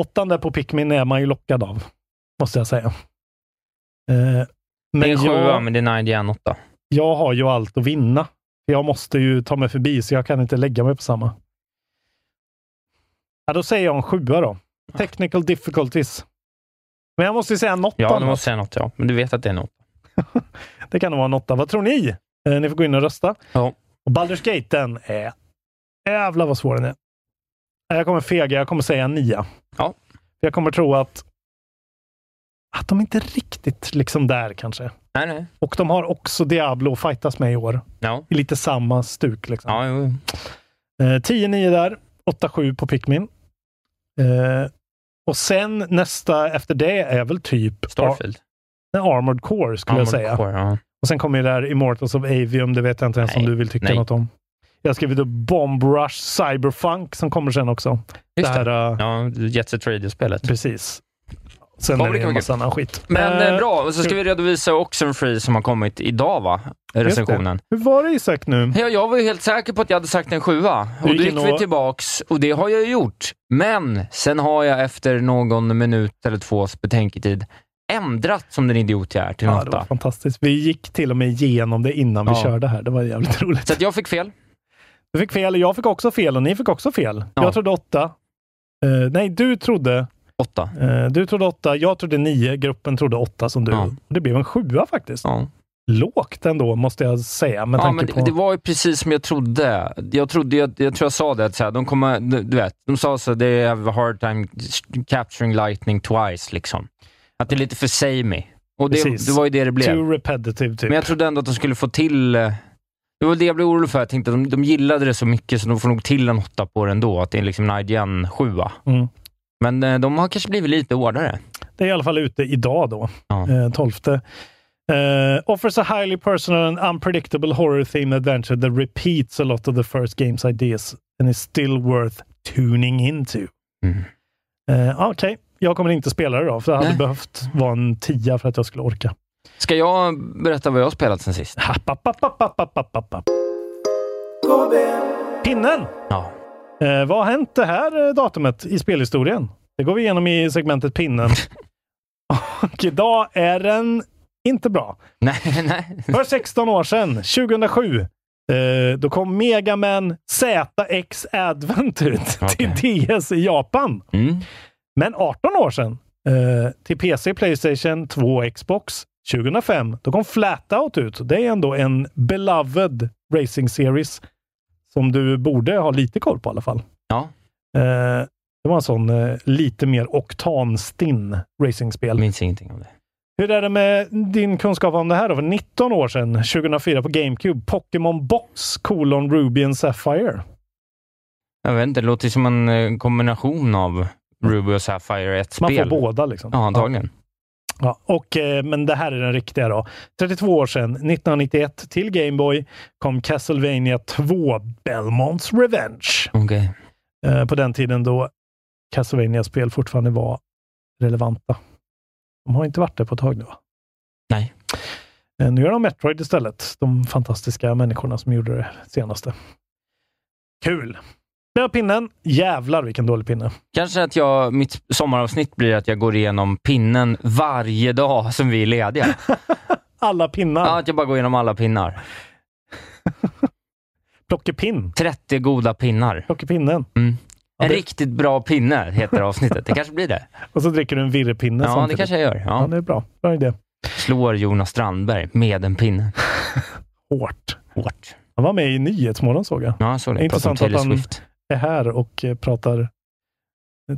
[SPEAKER 4] Åttan där på Pikmin är man ju lockad av, måste jag säga. Eh, men
[SPEAKER 5] Det är en sjua,
[SPEAKER 4] jag-
[SPEAKER 5] men det är en IGN 8.
[SPEAKER 4] jag har ju allt att vinna. Jag måste ju ta mig förbi, så jag kan inte lägga mig på samma. Ja, då säger jag en sjua då. Technical difficulties. Men jag måste ju säga en åtta.
[SPEAKER 5] Ja, du
[SPEAKER 4] då.
[SPEAKER 5] måste säga något, ja. Men du vet att det är en åtta.
[SPEAKER 4] Det kan nog vara en åtta. Vad tror ni? Eh, ni får gå in och rösta.
[SPEAKER 5] Ja.
[SPEAKER 4] Och Baldur's Gate, den är... Jävlar vad svår den är. Nej, Jag kommer fega. Jag kommer säga en nia.
[SPEAKER 5] Ja.
[SPEAKER 4] Jag kommer tro att... Att de inte riktigt liksom där kanske.
[SPEAKER 5] Nej, nej.
[SPEAKER 4] Och de har också Diablo att fightas med i år.
[SPEAKER 5] Ja,
[SPEAKER 4] I lite samma stuk liksom.
[SPEAKER 5] ja jo.
[SPEAKER 4] Eh, 10-9 där, 8-7 på Pikmin. Eh, och sen nästa efter det är väl typ
[SPEAKER 5] Starfield.
[SPEAKER 4] Ar- Armored Core skulle jag
[SPEAKER 5] Armored
[SPEAKER 4] säga.
[SPEAKER 5] Core, ja.
[SPEAKER 4] Och sen kommer ju det här Immortals of Avium, det vet jag inte ens om
[SPEAKER 5] Nej,
[SPEAKER 4] du vill tycka
[SPEAKER 5] nej.
[SPEAKER 4] något om. Jag har skrivit upp Bomb Rush Cyberfunk som kommer sen också.
[SPEAKER 5] Just
[SPEAKER 4] det här,
[SPEAKER 5] det.
[SPEAKER 4] eh,
[SPEAKER 5] Ja, Jet Set Radio-spelet.
[SPEAKER 4] Precis. Sen
[SPEAKER 5] Ja,
[SPEAKER 4] är
[SPEAKER 5] det
[SPEAKER 4] det
[SPEAKER 5] kan
[SPEAKER 4] en
[SPEAKER 5] vara
[SPEAKER 4] massa annan skit.
[SPEAKER 5] Men
[SPEAKER 4] Eh,
[SPEAKER 5] eh, bra, och så ska
[SPEAKER 4] kul.
[SPEAKER 5] vi redovisa Oxenfree som har kommit idag, va?
[SPEAKER 4] det.
[SPEAKER 5] Recensionen.
[SPEAKER 4] Hur var det Isak nu?
[SPEAKER 5] Ja, jag var ju helt säker på att jag hade sagt en sjua.
[SPEAKER 4] Du
[SPEAKER 5] Och då
[SPEAKER 4] gick
[SPEAKER 5] gick
[SPEAKER 4] in
[SPEAKER 5] vi
[SPEAKER 4] och-
[SPEAKER 5] tillbaks och det har jag ju gjort. Men sen har jag efter någon minut eller tvås betänketid ändrat som den idiot jag är till en
[SPEAKER 4] Ja, det var
[SPEAKER 5] åtta.
[SPEAKER 4] fantastiskt. Vi gick till och med igenom det innan vi
[SPEAKER 5] Ja.
[SPEAKER 4] körde här. Det var jävligt roligt.
[SPEAKER 5] Så att jag fick fel.
[SPEAKER 4] Du fick fel, jag fick också fel och ni fick också fel.
[SPEAKER 5] Ja.
[SPEAKER 4] Jag trodde åtta. Eh, nej, du trodde,
[SPEAKER 5] Åtta.
[SPEAKER 4] eh, du trodde åtta, jag trodde nio, gruppen trodde åtta som du.
[SPEAKER 5] Ja.
[SPEAKER 4] Det blev en sjua faktiskt.
[SPEAKER 5] Ja.
[SPEAKER 4] lågt ändå, måste jag säga. Med
[SPEAKER 5] Ja,
[SPEAKER 4] tanke
[SPEAKER 5] men
[SPEAKER 4] på...
[SPEAKER 5] det, det var ju precis som jag trodde. Jag, trodde, jag, jag tror jag sa det, att så här, de, kommer, du du vet, de sa så här, they have a hard time capturing lightning twice. Liksom. Att det är lite för samey. Och det,
[SPEAKER 4] Precis.
[SPEAKER 5] det var ju det det blev.
[SPEAKER 4] Too repetitive, typ.
[SPEAKER 5] Men jag trodde ändå att de skulle få till... eh, Det var det jag blev orolig för. Jag tänkte att de, de gillade det så mycket så de får nog till en åtta på det ändå. Att det är liksom en IGN 7
[SPEAKER 4] Mm.
[SPEAKER 5] Men eh, de har kanske blivit lite hårdare.
[SPEAKER 4] Det är i alla fall ute idag då,
[SPEAKER 5] Ja.
[SPEAKER 4] eh, 12. Eh, offers a highly personal and unpredictable horror-themed adventure that repeats a lot of the first game's ideas and is still worth tuning into.
[SPEAKER 5] Mm.
[SPEAKER 4] Eh, Okej, jag kommer inte spela det då, för det hade
[SPEAKER 5] Nej.
[SPEAKER 4] behövt vara en tia för att jag skulle orka.
[SPEAKER 5] Ska jag berätta vad jag har spelat sen sist?
[SPEAKER 4] Happ, happ, happ, happ, happ, happ, happ, happ. Pinnen!
[SPEAKER 5] Ja.
[SPEAKER 4] Eh, vad har hänt det här eh, datumet i spelhistorien? Det går vi igenom i segmentet Pinnen. Och idag är den inte bra.
[SPEAKER 5] Nej, nej.
[SPEAKER 4] För 16 år sedan, 2007, eh, då kom Mega Man ZX Advent ut till DS i Japan.
[SPEAKER 5] Mm.
[SPEAKER 4] Men 18 år sedan, eh, till PC, Playstation 2 och Xbox. 2005, då kom Flatout ut. Det är ändå en beloved racing series som du borde ha lite koll på i alla fall.
[SPEAKER 5] Ja,
[SPEAKER 4] Eh, det var en sån eh, lite mer oktanstinn
[SPEAKER 5] jag
[SPEAKER 4] racingspel.
[SPEAKER 5] minns ingenting om det.
[SPEAKER 4] Hur är det med din kunskap om det här då? För 19 år sedan, 2004 på GameCube, Pokémon Box, colon Ruby and Sapphire.
[SPEAKER 5] Jag vet inte, det låter som en eh, kombination av Ruby och Sapphire i ett
[SPEAKER 4] Man
[SPEAKER 5] spel.
[SPEAKER 4] får båda liksom.
[SPEAKER 5] Ja, antagligen.
[SPEAKER 4] Ja, och, eh, men det här är den riktiga då. 32 år sedan, 1991, till Gameboy kom Castlevania 2 Belmonts Revenge.
[SPEAKER 5] Okej.
[SPEAKER 4] Eh, på den tiden då Castlevania-spel fortfarande var relevanta. De har inte varit det på ett tag nu va?
[SPEAKER 5] Nej.
[SPEAKER 4] Eh, Nu gör de Metroid istället. De fantastiska människorna som gjorde det senaste. Kul! Det var pinnen. Jävlar vilken dålig pinne.
[SPEAKER 5] Kanske att jag, mitt sommaravsnitt blir att jag går igenom pinnen varje dag som vi är lediga.
[SPEAKER 4] Alla pinnar.
[SPEAKER 5] Ja, att jag bara går igenom alla pinnar.
[SPEAKER 4] Plockepinn.
[SPEAKER 5] 30 goda pinnar.
[SPEAKER 4] Plockepinnen.
[SPEAKER 5] Mm.
[SPEAKER 4] Ja,
[SPEAKER 5] En
[SPEAKER 4] det-
[SPEAKER 5] riktigt bra pinne heter avsnittet. Det kanske blir det.
[SPEAKER 4] Och så dricker du en virrepinne
[SPEAKER 5] Ja, det
[SPEAKER 4] samtidigt.
[SPEAKER 5] kanske jag gör.
[SPEAKER 4] Ja,
[SPEAKER 5] Ja.
[SPEAKER 4] det är bra. Bra idé.
[SPEAKER 5] Slår Jonas Strandberg med en pinne.
[SPEAKER 4] Hårt.
[SPEAKER 5] Hårt.
[SPEAKER 4] Han var med i Nyhetsmorgon såg jag.
[SPEAKER 5] Ja, jag såg det. Pratar om
[SPEAKER 4] Intressant
[SPEAKER 5] Taylor
[SPEAKER 4] att han-
[SPEAKER 5] Swift.
[SPEAKER 4] Är här och eh, pratar.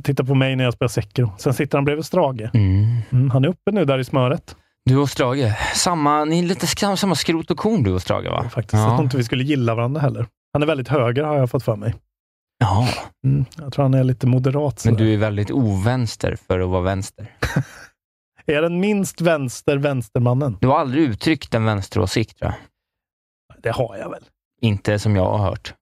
[SPEAKER 4] Tittar på mig när jag spelar Sekiro. Sen sitter han bredvid Strage.
[SPEAKER 5] Mm.
[SPEAKER 4] Mm, han är uppe nu där i smöret.
[SPEAKER 5] Du och Strage, samma, ni är lite sk- samma skrot och korn du och Strage va?
[SPEAKER 4] Faktiskt. Jag tror
[SPEAKER 5] Ja.
[SPEAKER 4] inte vi skulle gilla varandra heller. Han är väldigt höger har jag fått för mig.
[SPEAKER 5] ja,
[SPEAKER 4] Mm, jag tror han är lite moderat.
[SPEAKER 5] men
[SPEAKER 4] sådär.
[SPEAKER 5] du är väldigt ovänster för att vara vänster.
[SPEAKER 4] Är den minst vänster vänstermannen?
[SPEAKER 5] Du har aldrig uttryckt en vänsteråsikt tror jag.
[SPEAKER 4] Det har jag väl.
[SPEAKER 5] Inte som jag har hört.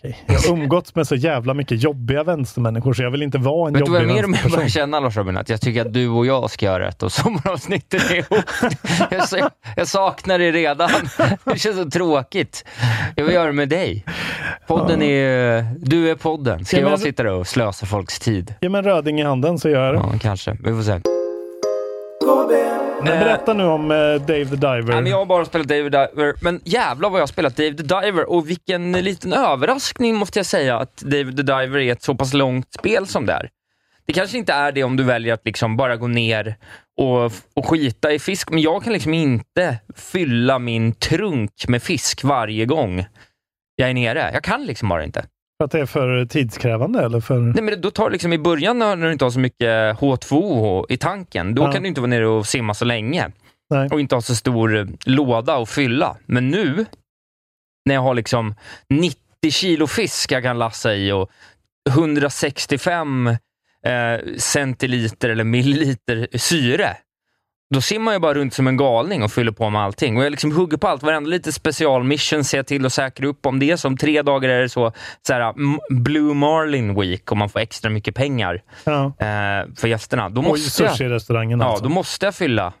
[SPEAKER 4] Okej. Jag har umgåtts med så jävla mycket jobbiga vänstermänniskor så jag vill inte vara en
[SPEAKER 5] Vet du vad
[SPEAKER 4] jobbig
[SPEAKER 5] jag mer och mer
[SPEAKER 4] vänsterperson.
[SPEAKER 5] börjar känna Lars-Robin? Att jag tycker att du och jag ska göra ett och sommaravsnittet är ihop. Jag, sa- jag saknar det redan. Det känns så tråkigt. Jag vill göra det med dig. Podden är... Du är podden. Ska
[SPEAKER 4] Ja, men- alltså-
[SPEAKER 5] jag sitta där och slösa folks tid?
[SPEAKER 4] Ge mig en röding i handen så gör jag det.
[SPEAKER 5] Ja, kanske. Vi får se.
[SPEAKER 4] Men berätta nu om eh, Dave the Diver.
[SPEAKER 5] Nej, men jag har bara spelat Dave the Diver, men jävlar vad jag har spelat Dave the Diver och vilken liten överraskning måste jag säga att Dave the Diver är ett så pass långt spel som det är. Det kanske inte är det om du väljer att liksom bara gå ner och, och skita i fisk, men jag kan liksom inte fylla min trunk med fisk varje gång jag är nere. Jag kan liksom bara inte.
[SPEAKER 4] För att det är för tidskrävande eller för...
[SPEAKER 5] Nej, men då tar det liksom i början när när du inte har så mycket H2O i tanken, då
[SPEAKER 4] Ja.
[SPEAKER 5] kan du inte vara nere och simma så länge.
[SPEAKER 4] Nej.
[SPEAKER 5] Och inte ha så stor eh, låda att fylla. Men nu, när jag har liksom 90 kilo fisk jag kan lassa i och 165 eh, centiliter eller milliliter syre, då simmar jag bara runt som en galning och fyller på med allting. Och jag liksom hugger på allt. Varenda lite specialmission ser jag till att säkra upp om det. är Som tre dagar är det så, så här, m- Blue Marlin Week och man får extra mycket pengar
[SPEAKER 4] Ja.
[SPEAKER 5] eh, för gästerna. Då
[SPEAKER 4] Och i
[SPEAKER 5] måste, jag,
[SPEAKER 4] sushi-restaurangen
[SPEAKER 5] ja,
[SPEAKER 4] alltså.
[SPEAKER 5] då måste jag fylla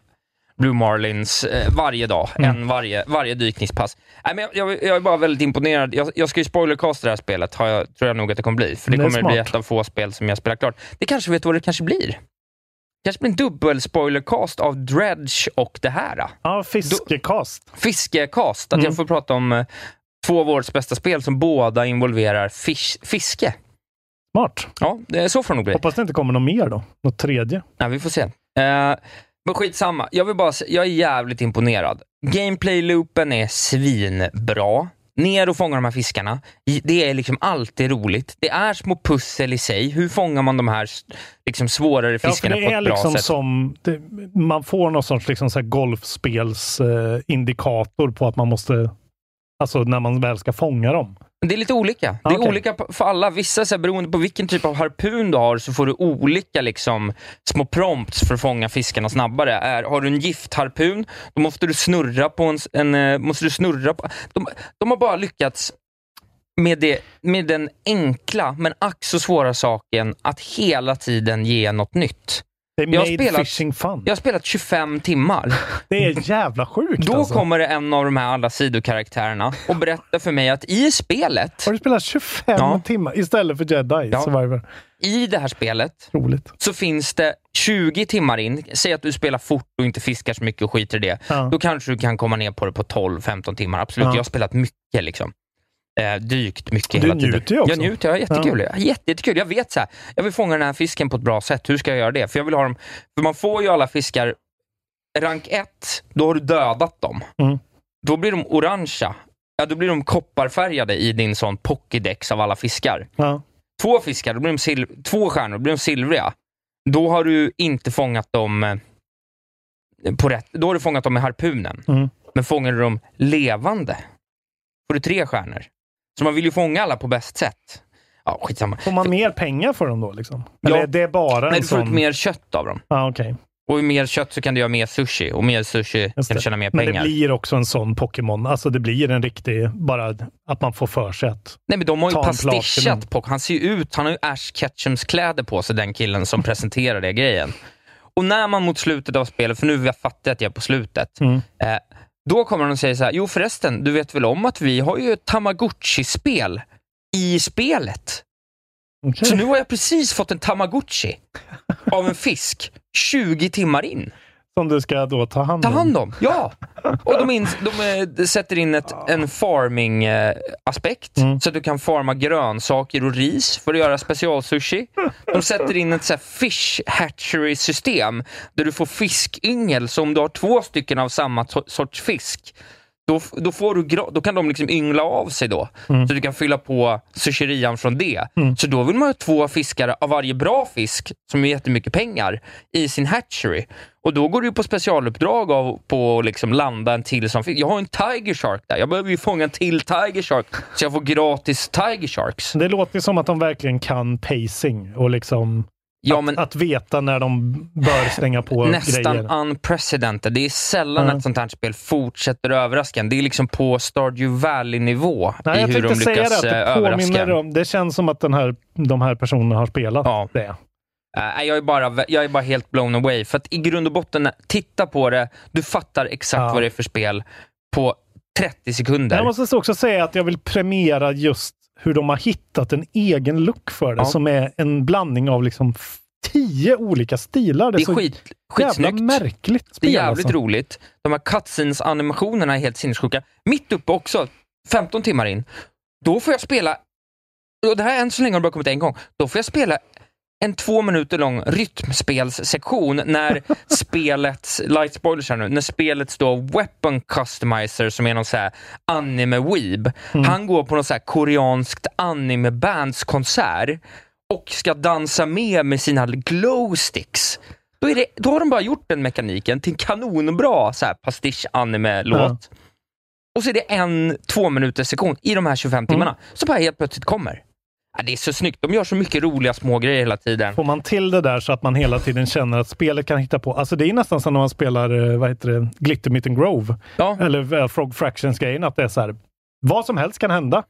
[SPEAKER 5] Blue Marlins eh, varje dag,
[SPEAKER 4] Mm.
[SPEAKER 5] en varje, varje dykningspass. Nej, men jag, jag, jag är bara väldigt imponerad. Jag, jag ska ju spoilercasta det här spelet, har jag, tror jag nog att det kommer bli. För det
[SPEAKER 4] Det är
[SPEAKER 5] kommer att bli
[SPEAKER 4] smart.
[SPEAKER 5] ett av få spel som jag spelar klart. Det kanske vet vad det kanske blir. kanske blir en dubbel spoilercast av Dredge och det här. eh
[SPEAKER 4] Ja, fiskekast.
[SPEAKER 5] fiskekast. Att
[SPEAKER 4] Mm.
[SPEAKER 5] jag får prata om eh, två av årets bästa spel som båda involverar fish, fiske.
[SPEAKER 4] Smart.
[SPEAKER 5] Ja, det- så får det nog bli.
[SPEAKER 4] Hoppas det inte kommer något mer då. Något tredje.
[SPEAKER 5] Ja, vi får se. Eh, men skitsamma. Jag, vill bara, se- jag är jävligt imponerad. Gameplay-loopen är svinbra. Ner och fånga de här fiskarna. I- Det är liksom alltid roligt. Det är små pussel i sig. Hur fångar man de här s- liksom svårare
[SPEAKER 4] Ja, för
[SPEAKER 5] fiskarna
[SPEAKER 4] det
[SPEAKER 5] på
[SPEAKER 4] är
[SPEAKER 5] ett bra
[SPEAKER 4] liksom
[SPEAKER 5] sätt?
[SPEAKER 4] som, det, man får någon sorts liksom så här golfspelsindikator eh, indikator på att man måste, alltså när man väl ska fånga dem.
[SPEAKER 5] Men Det är lite olika. Det är
[SPEAKER 4] Ah, Okej.
[SPEAKER 5] olika p- för alla. Vissa, så här, beroende på vilken typ av harpun du har, så får du olika liksom, små prompts för att fånga fiskarna snabbare. Är, har du en giftharpun, då måste du snurra på en... s- en eh, måste du snurra på, de, de har bara lyckats med, det, med den enkla, men ack så svåra saken att hela tiden ge något nytt.
[SPEAKER 4] Det är
[SPEAKER 5] Jag har
[SPEAKER 4] made
[SPEAKER 5] spelat-
[SPEAKER 4] fishing fun.
[SPEAKER 5] Jag har spelat 25 timmar.
[SPEAKER 4] Det är jävla sjukt
[SPEAKER 5] Då
[SPEAKER 4] alltså.
[SPEAKER 5] kommer det en av de här alla sidokaraktärerna och berättar för mig att i spelet,
[SPEAKER 4] Har du spelat 25
[SPEAKER 5] Ja.
[SPEAKER 4] timmar istället för Jedi
[SPEAKER 5] Ja.
[SPEAKER 4] Survivor?
[SPEAKER 5] i det här spelet,
[SPEAKER 4] Roligt.
[SPEAKER 5] så finns det 20 timmar in, säg att du spelar fort och inte fiskar så mycket och skiter i det.
[SPEAKER 4] Ja.
[SPEAKER 5] Då kanske du kan komma ner på det på 12-15 timmar. Absolut,
[SPEAKER 4] Ja.
[SPEAKER 5] jag har spelat mycket. liksom. Eh, dykt mycket
[SPEAKER 4] Du
[SPEAKER 5] hela tiden.
[SPEAKER 4] njuter ju också.
[SPEAKER 5] Jag njuter, jag har jättekul. Jag har jätte, jättekul. Jag vet så här, jag vill fånga den här fisken på ett bra sätt. Hur ska jag göra det? För jag vill ha dem, för man får ju alla fiskar rank 1, då har du dödat dem.
[SPEAKER 4] Mm.
[SPEAKER 5] Då blir de orangea. Ja, då blir de kopparfärgade i din sån pokédex av alla fiskar
[SPEAKER 4] Ja.
[SPEAKER 5] två fiskar, då blir de sil- två stjärnor, då blir de silvriga. Då har du inte fångat dem eh, på rätt... Då har du fångat dem med harpunen.
[SPEAKER 4] Mm.
[SPEAKER 5] Men fångar du dem levande, får du tre stjärnor. Så man vill ju fånga alla på bäst sätt. Ja, skitsamma.
[SPEAKER 4] Får man mer pengar för dem då? Liksom?
[SPEAKER 5] Ja.
[SPEAKER 4] Eller är det bara en
[SPEAKER 5] Men du får ut
[SPEAKER 4] sån...
[SPEAKER 5] mer kött av dem.
[SPEAKER 4] Ja, okej.
[SPEAKER 5] Och ju mer kött så kan du göra mer sushi. Och mer sushi
[SPEAKER 4] Just
[SPEAKER 5] kan du
[SPEAKER 4] det.
[SPEAKER 5] tjäna mer
[SPEAKER 4] Men
[SPEAKER 5] pengar.
[SPEAKER 4] det blir också en sån Pokémon. Alltså det blir en riktig, bara att man får för sig att...
[SPEAKER 5] Nej men de har ju
[SPEAKER 4] Ta en plats till
[SPEAKER 5] pastischat på Han ser ju ut, han har ju Ash Ketchums kläder på sig, den killen som presenterar det grejen. Och när man mot slutet av spelet, för nu har jag fattat att jag är på slutet,
[SPEAKER 4] Mm.
[SPEAKER 5] eh, då kommer de och säger så här, jo förresten, du vet väl om att vi har ju ett Tamagotchi-spel i spelet?
[SPEAKER 4] Okej.
[SPEAKER 5] Så nu har jag precis fått en Tamagotchi av en fisk, 20 timmar in.
[SPEAKER 4] Som du ska då ta hand
[SPEAKER 5] Ta
[SPEAKER 4] om.
[SPEAKER 5] hand om, ja! Och de, in, de eh, sätter in ett, en farming-aspekt, så att du kan farma grönsaker och ris för att göra specialsushi. De sätter in ett så här fish hatchery-system, där du får fiskyngel, så om du har två stycken av samma to- sorts fisk, då, f- då, får du, gra- då kan de liksom yngla av sig då.
[SPEAKER 4] Mm.
[SPEAKER 5] Så du kan fylla på sushirian från det. Så då vill man ha två fiskar av varje bra fisk, som är jättemycket pengar, i sin hatchery. Och då går du på specialuppdrag av, på att liksom landa en till som fisk. Jag har en tiger shark där. Jag behöver ju fånga en till tiger shark, så jag får gratis tiger sharks.
[SPEAKER 4] Det låter ju som att de verkligen kan pacing och liksom
[SPEAKER 5] Ja,
[SPEAKER 4] att,
[SPEAKER 5] men
[SPEAKER 4] att veta när de bör stänga på
[SPEAKER 5] nästan
[SPEAKER 4] grejer.
[SPEAKER 5] unprecedented. Det är sällan
[SPEAKER 4] Mm.
[SPEAKER 5] ett sånt här spel fortsätter överraska en. Det är liksom på Stardew Valley-nivå
[SPEAKER 4] Nej,
[SPEAKER 5] i
[SPEAKER 4] jag
[SPEAKER 5] hur de
[SPEAKER 4] tänkte säga
[SPEAKER 5] lyckas
[SPEAKER 4] det, att
[SPEAKER 5] eh,
[SPEAKER 4] det
[SPEAKER 5] överraska en.
[SPEAKER 4] påminner om... Det känns som att den här, de här personerna har spelat
[SPEAKER 5] Ja.
[SPEAKER 4] det.
[SPEAKER 5] Eh, Nej, jag är, bara, jag är bara helt blown away. För att i grund och botten, när- titta på det, du fattar exakt
[SPEAKER 4] Ja.
[SPEAKER 5] vad det är för spel på 30 sekunder.
[SPEAKER 4] Jag måste också säga att jag vill premiera just hur de har hittat en egen look för det,
[SPEAKER 5] Ja.
[SPEAKER 4] som är en blandning av liksom f- tio olika stilar.
[SPEAKER 5] det är
[SPEAKER 4] så
[SPEAKER 5] skit,
[SPEAKER 4] jävla
[SPEAKER 5] skitsnyggt.
[SPEAKER 4] märkligt
[SPEAKER 5] Det
[SPEAKER 4] spel.
[SPEAKER 5] är jävligt
[SPEAKER 4] alltså.
[SPEAKER 5] roligt. De här cutscenes animationerna är helt sinnessjuka. Mitt uppe också, 15 timmar in, då får jag spela, och det här än så länge har det bara kommit en gång, då får jag spela en två minuter lång rytmspelssektion när spelets, light spoilers här nu, när spelets då weapon customizer som är någon så här anime-weeb, han går på någon så här koreanskt anime-bandskonsert och ska dansa med med sina glowsticks. Då, är det, då har de bara gjort den mekaniken till en kanonbra så här pastisch-anime-låt. Och så är det en två minuters sektion i de här
[SPEAKER 4] Mm.
[SPEAKER 5] 25 timmarna, så bara helt plötsligt kommer. Ja, det är så snyggt. De gör så mycket roliga små grejer hela tiden.
[SPEAKER 4] Får man till det där så att man hela tiden känner att spelet kan hitta på... Alltså det är nästan som när man spelar eh, vad heter det, Glitter Mitten Grove,
[SPEAKER 5] Ja.
[SPEAKER 4] eller eh, Frog Fractions-grejen, att det är så här, vad som helst kan hända.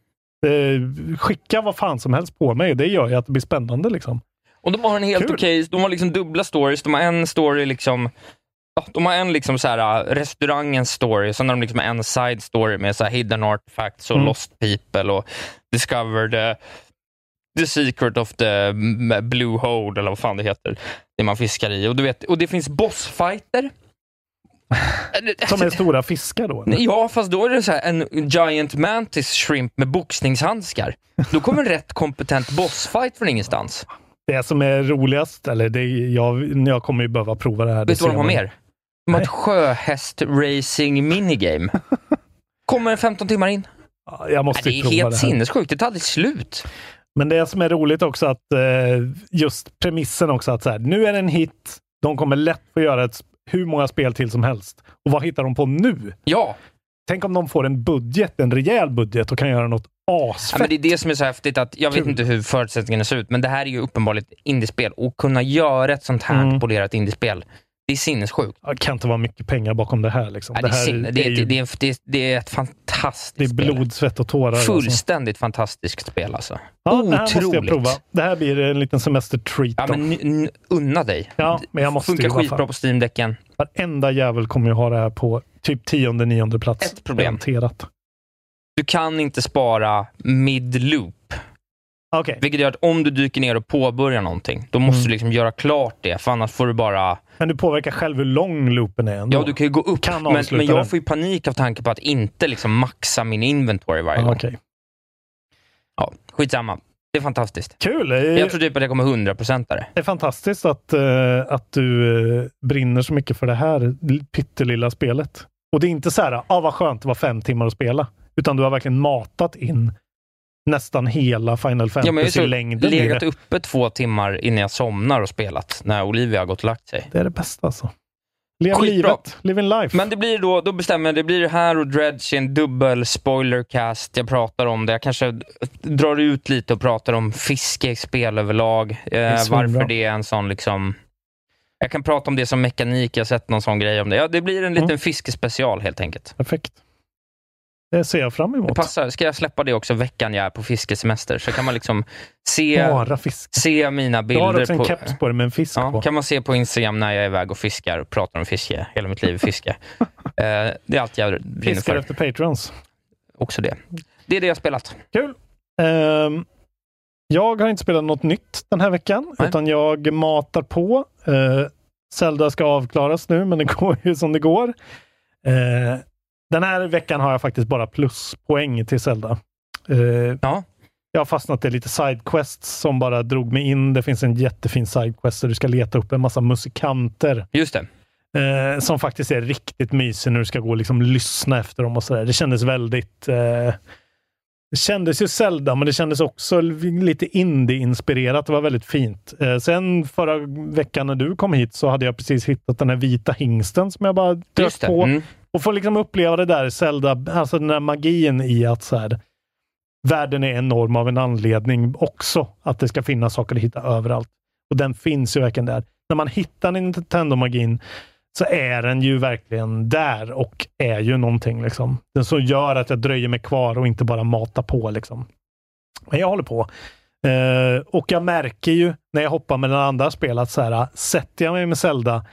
[SPEAKER 4] Eh, skicka vad fan som helst på mig, det gör ju att det blir spännande liksom.
[SPEAKER 5] Och de har en helt
[SPEAKER 4] Kul.
[SPEAKER 5] okej, de har liksom dubbla stories. De har en story liksom, ja, de har en liksom så här, äh, restaurangens story, sen har de liksom en side story med så här hidden artifacts och
[SPEAKER 4] Mm.
[SPEAKER 5] lost people och discovered eh, the secret of the mm, blue hole, eller vad fan det heter, det man fiskar i. Och, du vet, och det finns bossfighter. Äh,
[SPEAKER 4] Som är stora fiskar då. eller?
[SPEAKER 5] Ja, fast då är det så här, en giant mantis shrimp med boxningshandskar. Då kommer en rätt kompetent bossfight från ingenstans.
[SPEAKER 4] Det som är roligast, eller det, jag, jag kommer ju behöva prova det här. det
[SPEAKER 5] Vet du vad de har
[SPEAKER 4] senare.
[SPEAKER 5] mer? Mot sjöhäst-racing minigame. Kommer 15 timmar in.
[SPEAKER 4] Ja, Jag måste
[SPEAKER 5] Nej,
[SPEAKER 4] ju
[SPEAKER 5] det är
[SPEAKER 4] prova
[SPEAKER 5] helt
[SPEAKER 4] det här.
[SPEAKER 5] sinnessjukt. Det tar aldrig slut.
[SPEAKER 4] Men det som är roligt också att eh, just premissen också att så här, nu är det en hit. De kommer lätt få göra ett, hur många spel till som helst. Och vad hittar de på nu?
[SPEAKER 5] Ja,
[SPEAKER 4] Tänk om de får en budget, en rejäl budget och kan göra något
[SPEAKER 5] ja
[SPEAKER 4] asfett.
[SPEAKER 5] men det är det som är så häftigt. Att jag vet
[SPEAKER 4] Kul.
[SPEAKER 5] inte hur förutsättningarna ser ut, men det här är ju uppenbarligen ett indiespel. Och kunna göra ett sånt här
[SPEAKER 4] Mm.
[SPEAKER 5] polerat indiespel, det är sinnessjukt.
[SPEAKER 4] Det kan inte vara mycket pengar bakom det här. Liksom.
[SPEAKER 5] Ja, det, är
[SPEAKER 4] här
[SPEAKER 5] sinne, det, är,
[SPEAKER 4] ju-
[SPEAKER 5] det, är, det, är, det är ett
[SPEAKER 4] det
[SPEAKER 5] fantastiskt
[SPEAKER 4] är blod, svett och tårar.
[SPEAKER 5] spel.
[SPEAKER 4] alltså.
[SPEAKER 5] Fullständigt fantastiskt spel alltså.
[SPEAKER 4] Ja, det här måste jag
[SPEAKER 5] Otroligt.
[SPEAKER 4] prova. Det här blir en liten semester-treat.
[SPEAKER 5] Ja,
[SPEAKER 4] då.
[SPEAKER 5] men n- n- unna dig.
[SPEAKER 4] Ja, men jag måste
[SPEAKER 5] Funkar
[SPEAKER 4] ju i alla
[SPEAKER 5] skitbra
[SPEAKER 4] fall.
[SPEAKER 5] på Steam-däcken.
[SPEAKER 4] Varenda jävel kommer ju ha det här på typ tionde, nionde plats.
[SPEAKER 5] Ett problem.
[SPEAKER 4] Garanterat.
[SPEAKER 5] Du kan inte spara mid-loop.
[SPEAKER 4] Okej,
[SPEAKER 5] Vilket gör att om du dyker ner och påbörjar någonting, då måste
[SPEAKER 4] Mm.
[SPEAKER 5] du liksom göra klart det, för annars får du bara...
[SPEAKER 4] men du påverkar själv hur lång loopen är ändå.
[SPEAKER 5] Ja, du kan ju gå upp,
[SPEAKER 4] Kan
[SPEAKER 5] men,
[SPEAKER 4] avsluta
[SPEAKER 5] men jag
[SPEAKER 4] den.
[SPEAKER 5] får ju panik av tanke på att inte liksom maxa min inventory varje
[SPEAKER 4] Ah,
[SPEAKER 5] gång.
[SPEAKER 4] okej.
[SPEAKER 5] Ja, skitsamma. Det är fantastiskt.
[SPEAKER 4] Kul!
[SPEAKER 5] Jag tror typ att jag kommer 100% det.
[SPEAKER 4] Det är fantastiskt att, eh, att du eh, brinner så mycket för det här l- pyttelilla spelet. Och det är inte så här, ah, vad skönt, det var fem timmar att spela. Utan du har verkligen matat in nästan hela Final
[SPEAKER 5] Ja, men jag har ju så
[SPEAKER 4] Fantasy-längden. i
[SPEAKER 5] legat
[SPEAKER 4] det.
[SPEAKER 5] uppe två timmar innan jag somnar och spelat, när Olivia har gått och lagt sig.
[SPEAKER 4] det är det bästa alltså. Lev
[SPEAKER 5] Skitbra.
[SPEAKER 4] livet, living life.
[SPEAKER 5] Men det blir då, då bestämmer jag, det blir det här och Dredge i en dubbel spoilercast. Jag pratar om det. Jag kanske drar ut lite och pratar om fiske i spel överlag. Eh,
[SPEAKER 4] svinbra.
[SPEAKER 5] varför det är en sån liksom... Jag kan prata om det som mekanik, jag har sett någon sån grej om det. Ja, det blir en liten
[SPEAKER 4] Mm.
[SPEAKER 5] fiskespecial helt enkelt.
[SPEAKER 4] Perfekt. Det ser jag fram
[SPEAKER 5] Det
[SPEAKER 4] emot.
[SPEAKER 5] passar. Ska jag släppa det också veckan jag är på fiskesemester? Så kan man liksom se,
[SPEAKER 4] Bara fisk.
[SPEAKER 5] se mina
[SPEAKER 4] Jag har
[SPEAKER 5] bilder
[SPEAKER 4] också en
[SPEAKER 5] på...
[SPEAKER 4] keps på dig med en fisk
[SPEAKER 5] Ja,
[SPEAKER 4] på.
[SPEAKER 5] kan man se på Instagram när jag är iväg och fiskar och pratar om fiske. Hela mitt liv är fiske. Eh, det är allt jag brinner
[SPEAKER 4] Fiskar
[SPEAKER 5] för.
[SPEAKER 4] efter patrons.
[SPEAKER 5] Också det. Det är det jag har spelat.
[SPEAKER 4] Kul! Ehm, jag har inte spelat något nytt den här veckan,
[SPEAKER 5] Nej.
[SPEAKER 4] utan jag matar på. Uh, Zelda ska avklaras nu, men det går ju som det går. Eh, den här veckan har jag faktiskt bara pluspoäng till Zelda. Eh,
[SPEAKER 5] Ja.
[SPEAKER 4] Jag har fastnat i lite sidequests som bara drog mig in. Det finns en jättefin sidequest där du ska leta upp en massa musikanter
[SPEAKER 5] Just det.
[SPEAKER 4] eh, som faktiskt är riktigt mysig när du ska gå och liksom lyssna efter dem och sådär. Det kändes väldigt... Eh, det kändes ju Zelda, men det kändes också lite indie-inspirerat. Det var väldigt fint. Eh, sen förra veckan när du kom hit så hade jag precis hittat den här vita hingsten som jag bara
[SPEAKER 5] Just
[SPEAKER 4] dök
[SPEAKER 5] det.
[SPEAKER 4] på.
[SPEAKER 5] Mm.
[SPEAKER 4] Och få liksom uppleva det där Zelda, alltså den där magin i att så här, världen är enorm av en anledning också. Att det ska finnas saker att hitta överallt. Och den finns ju verkligen där. När man hittar Nintendo-magin så är den ju verkligen där och är ju någonting. Liksom. Den som gör att jag dröjer mig kvar och inte bara matar på. Liksom. Men jag håller på. Eh, och jag märker ju när jag hoppar med den andra spel att så här, sätter jag mig med Zelda,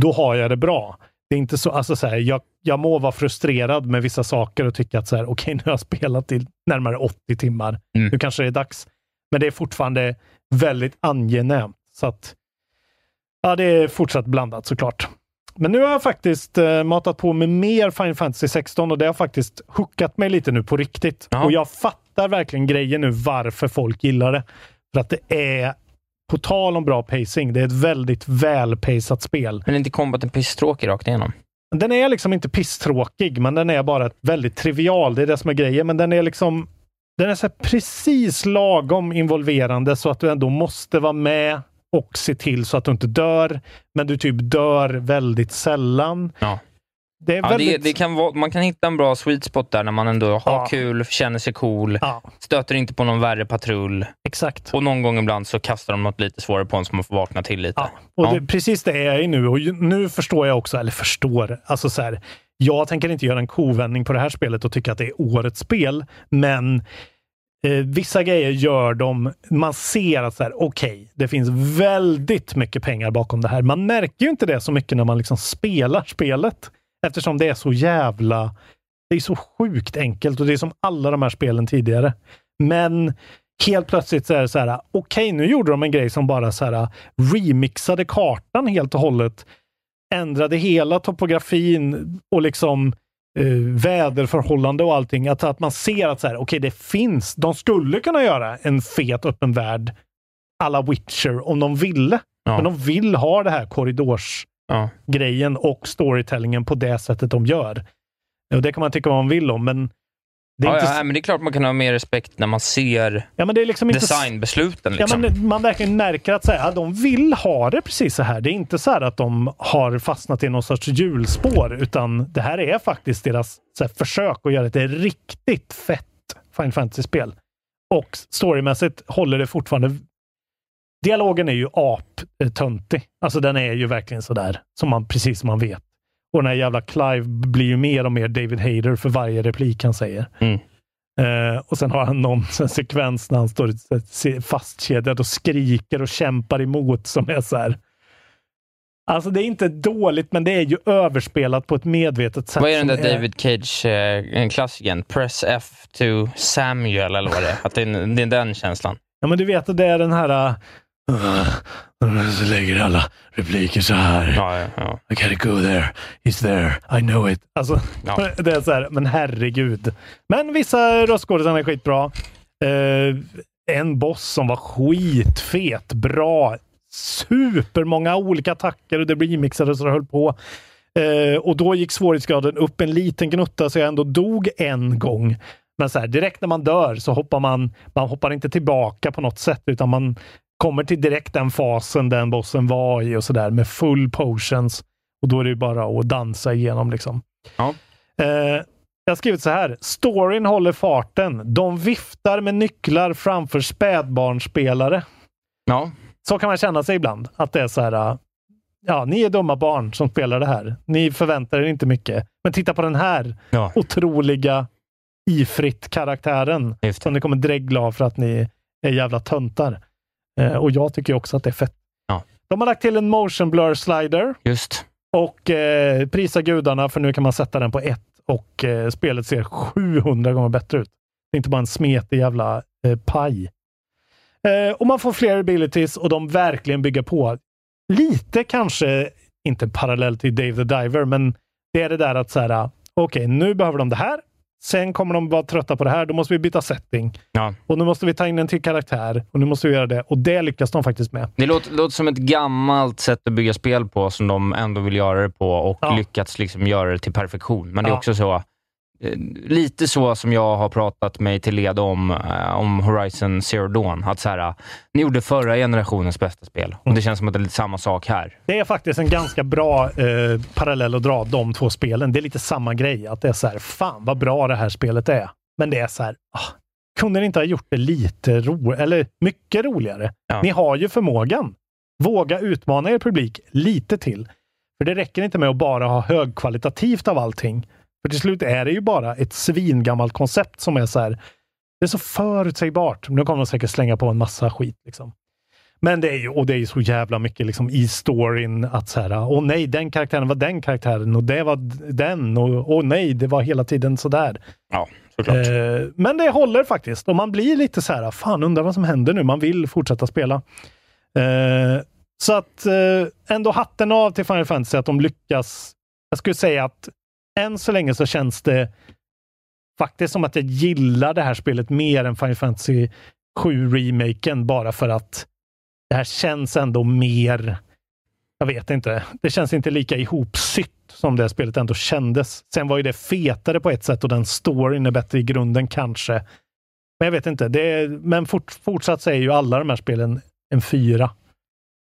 [SPEAKER 4] då har jag det bra. Det är inte så, alltså så här, jag, jag må vara frustrerad med vissa saker och tycka att så här, okej, nu har jag spelat i närmare 80 timmar.
[SPEAKER 5] Mm.
[SPEAKER 4] Nu kanske det är dags. Men det är fortfarande väldigt angenämt. Så att, ja, det är fortsatt blandat såklart. Men nu har jag faktiskt eh, matat på med mer Final Fantasy 16 och det har faktiskt hookat mig lite nu på riktigt.
[SPEAKER 5] Ja.
[SPEAKER 4] Och jag fattar verkligen grejen nu varför folk gillar det. För att det är, på tal om bra pacing, det är ett väldigt välpacat spel.
[SPEAKER 5] Men är inte combaten pisstråkig rakt igenom?
[SPEAKER 4] Den är liksom inte pisstråkig, men den är bara väldigt trivial. Det är det som är grejen, men den är liksom den är så här precis lagom involverande så att du ändå måste vara med och se till så att du inte dör. Men du typ dör väldigt sällan.
[SPEAKER 5] Ja.
[SPEAKER 4] Det är
[SPEAKER 5] Ja,
[SPEAKER 4] väldigt...
[SPEAKER 5] det, det kan vara, man kan hitta en bra sweet spot där när man ändå har
[SPEAKER 4] Ja.
[SPEAKER 5] kul, känner sig cool,
[SPEAKER 4] Ja,
[SPEAKER 5] stöter inte på någon värre patrull
[SPEAKER 4] exakt.
[SPEAKER 5] och någon gång ibland så kastar de något lite svårare på en så man får vakna till lite.
[SPEAKER 4] Ja, och
[SPEAKER 5] Ja.
[SPEAKER 4] Det, precis det är jag ju nu. Och ju- nu förstår jag också, eller förstår, alltså så här, jag tänker inte göra en kovändning på det här spelet och tycka att det är årets spel, men eh, vissa grejer gör de, man ser att så här, okej, det finns väldigt mycket pengar bakom det här. Man märker ju inte det så mycket när man liksom spelar spelet, eftersom det är så jävla, det är så sjukt enkelt och det är som alla de här spelen tidigare. Men helt plötsligt så är det så här, okej, nu gjorde de en grej som bara så här remixade kartan helt och hållet, ändrade hela topografin och liksom eh, väderförhållande och allting. Att, att man ser att så här, okej, det finns, de skulle kunna göra en fet öppen värld alla Witcher om de ville.
[SPEAKER 5] Ja.
[SPEAKER 4] Men de vill ha det här korridors
[SPEAKER 5] Ja.
[SPEAKER 4] grejen och storytellingen på det sättet de gör. Och det kan man tycka vad man vill om, men det är,
[SPEAKER 5] Ja,
[SPEAKER 4] inte,
[SPEAKER 5] ja, men det är klart man kan ha mer respekt när man ser
[SPEAKER 4] ja, men det är liksom inte...
[SPEAKER 5] designbesluten.
[SPEAKER 4] Ja,
[SPEAKER 5] Liksom.
[SPEAKER 4] men man verkligen märker att så här, de vill ha det precis så här. Det är inte så här att de har fastnat i någon sorts hjulspår, utan det här är faktiskt deras så här, försök att göra ett riktigt fett Final Fantasy-spel. Och storymässigt håller det fortfarande... Dialogen är ju aptöntig. Alltså den är ju verkligen så där, som man, precis som man vet. Och den här jävla Clive blir ju mer och mer David Hayder för varje replik han säger.
[SPEAKER 5] Mm.
[SPEAKER 4] Eh, och sen har han någon sån sekvens när han står så här se- fastkedjad och skriker och kämpar emot som är så här. Alltså det är inte dåligt, men det är ju överspelat på ett medvetet sätt.
[SPEAKER 5] Vad är den där
[SPEAKER 4] som
[SPEAKER 5] David Cage-klassiken? Press F to Samuel, eller vad det är. Att det, är det är den känslan.
[SPEAKER 4] Ja, men du vet att det är den här... Uh, så lägger alla repliker så här.
[SPEAKER 5] Ja, ja,
[SPEAKER 4] I
[SPEAKER 5] ja.
[SPEAKER 4] gotta go there. He's there. I know it. Alltså,
[SPEAKER 5] Ja.
[SPEAKER 4] det är så här, men herregud. Men vissa röstskådisar är skitbra. Eh, en boss som var skitfet, bra, supermånga olika attacker och det blir mixade så det höll på. Eh, och då gick svårighetsgraden upp en liten gnutta så jag ändå dog en gång. Men så här, direkt när man dör så hoppar man, man hoppar inte tillbaka på något sätt utan man kommer till direkt den fasen den bossen var i och sådär med full potions. Och då är det ju bara att dansa igenom liksom.
[SPEAKER 5] Ja.
[SPEAKER 4] Eh, jag har skrivit så här. Storyn håller farten. De viftar med nycklar framför spädbarnsspelare.
[SPEAKER 5] ja.
[SPEAKER 4] Så kan man känna sig ibland. Att det är så här. eh, Ja, ni är dumma barn som spelar det här. Ni förväntar er inte mycket. Men titta på den här
[SPEAKER 5] Ja.
[SPEAKER 4] otroliga ifritt karaktären
[SPEAKER 5] Just
[SPEAKER 4] som ni kommer dregla av för att ni är jävla töntar. Eh, och jag tycker ju också att det är fett.
[SPEAKER 5] Ja.
[SPEAKER 4] De har lagt till en motion blur slider.
[SPEAKER 5] Just.
[SPEAKER 4] Och eh, prisa gudarna för nu kan man sätta den på ett och eh, spelet ser 700 gånger bättre ut. Det är inte bara en smetig jävla eh, paj. Eh, och man får fler abilities och de verkligen bygger på. Lite kanske, inte parallellt till Dave the Diver, men det är det där att så här, okej, nu behöver de det här. Sen kommer de vara trötta på det här. Då måste vi byta setting.
[SPEAKER 5] Ja.
[SPEAKER 4] Och nu måste vi ta in en till karaktär och nu måste vi göra det. Och det lyckas de faktiskt med.
[SPEAKER 5] Det låter, låter som ett gammalt sätt att bygga spel på som de ändå vill göra det på och
[SPEAKER 4] Ja.
[SPEAKER 5] lyckats liksom göra det till perfektion. Men det är
[SPEAKER 4] Ja.
[SPEAKER 5] också så, eh, lite så som jag har pratat mig till led om, eh, om Horizon Zero Dawn. Att så här, eh, ni gjorde förra generationens bästa spel och det känns som att det är lite samma sak här.
[SPEAKER 4] Det är faktiskt en ganska bra eh, parallell att dra de två spelen. Det är lite samma grej. Att det är så här, fan vad bra det här spelet är. Men det är så här, ah, kunde ni inte ha gjort det lite roligare? Eller mycket roligare?
[SPEAKER 5] Ja.
[SPEAKER 4] Ni har ju förmågan. Våga utmana er publik lite till. För det räcker inte med att bara ha högkvalitativt av allting. För till slut är det ju bara ett svingammalt koncept som är så här, det är så förutsägbart. Nu kommer de säkert slänga på en massa skit. Liksom. Men det är ju, och det är ju så jävla mycket liksom i storyn att så här, åh nej, den karaktären var den karaktären och det var d- den och åh nej, det var hela tiden sådär.
[SPEAKER 5] Ja, såklart.
[SPEAKER 4] Eh, men det håller faktiskt och man blir lite så här, fan undrar vad som händer nu, man vill fortsätta spela. Eh, så att eh, ändå hatten av till Final Fantasy att de lyckas. Jag skulle säga att än så länge så känns det faktiskt som att jag gillar det här spelet mer än Final Fantasy 7-remaken bara för att det här känns ändå mer, jag vet inte, det känns inte lika ihopsytt som det här spelet ändå kändes. Sen var ju det fetare på ett sätt och den storyn är bättre i grunden kanske. Men jag vet inte, det är, men fort, fortsatt så är ju alla de här spelen en fyra.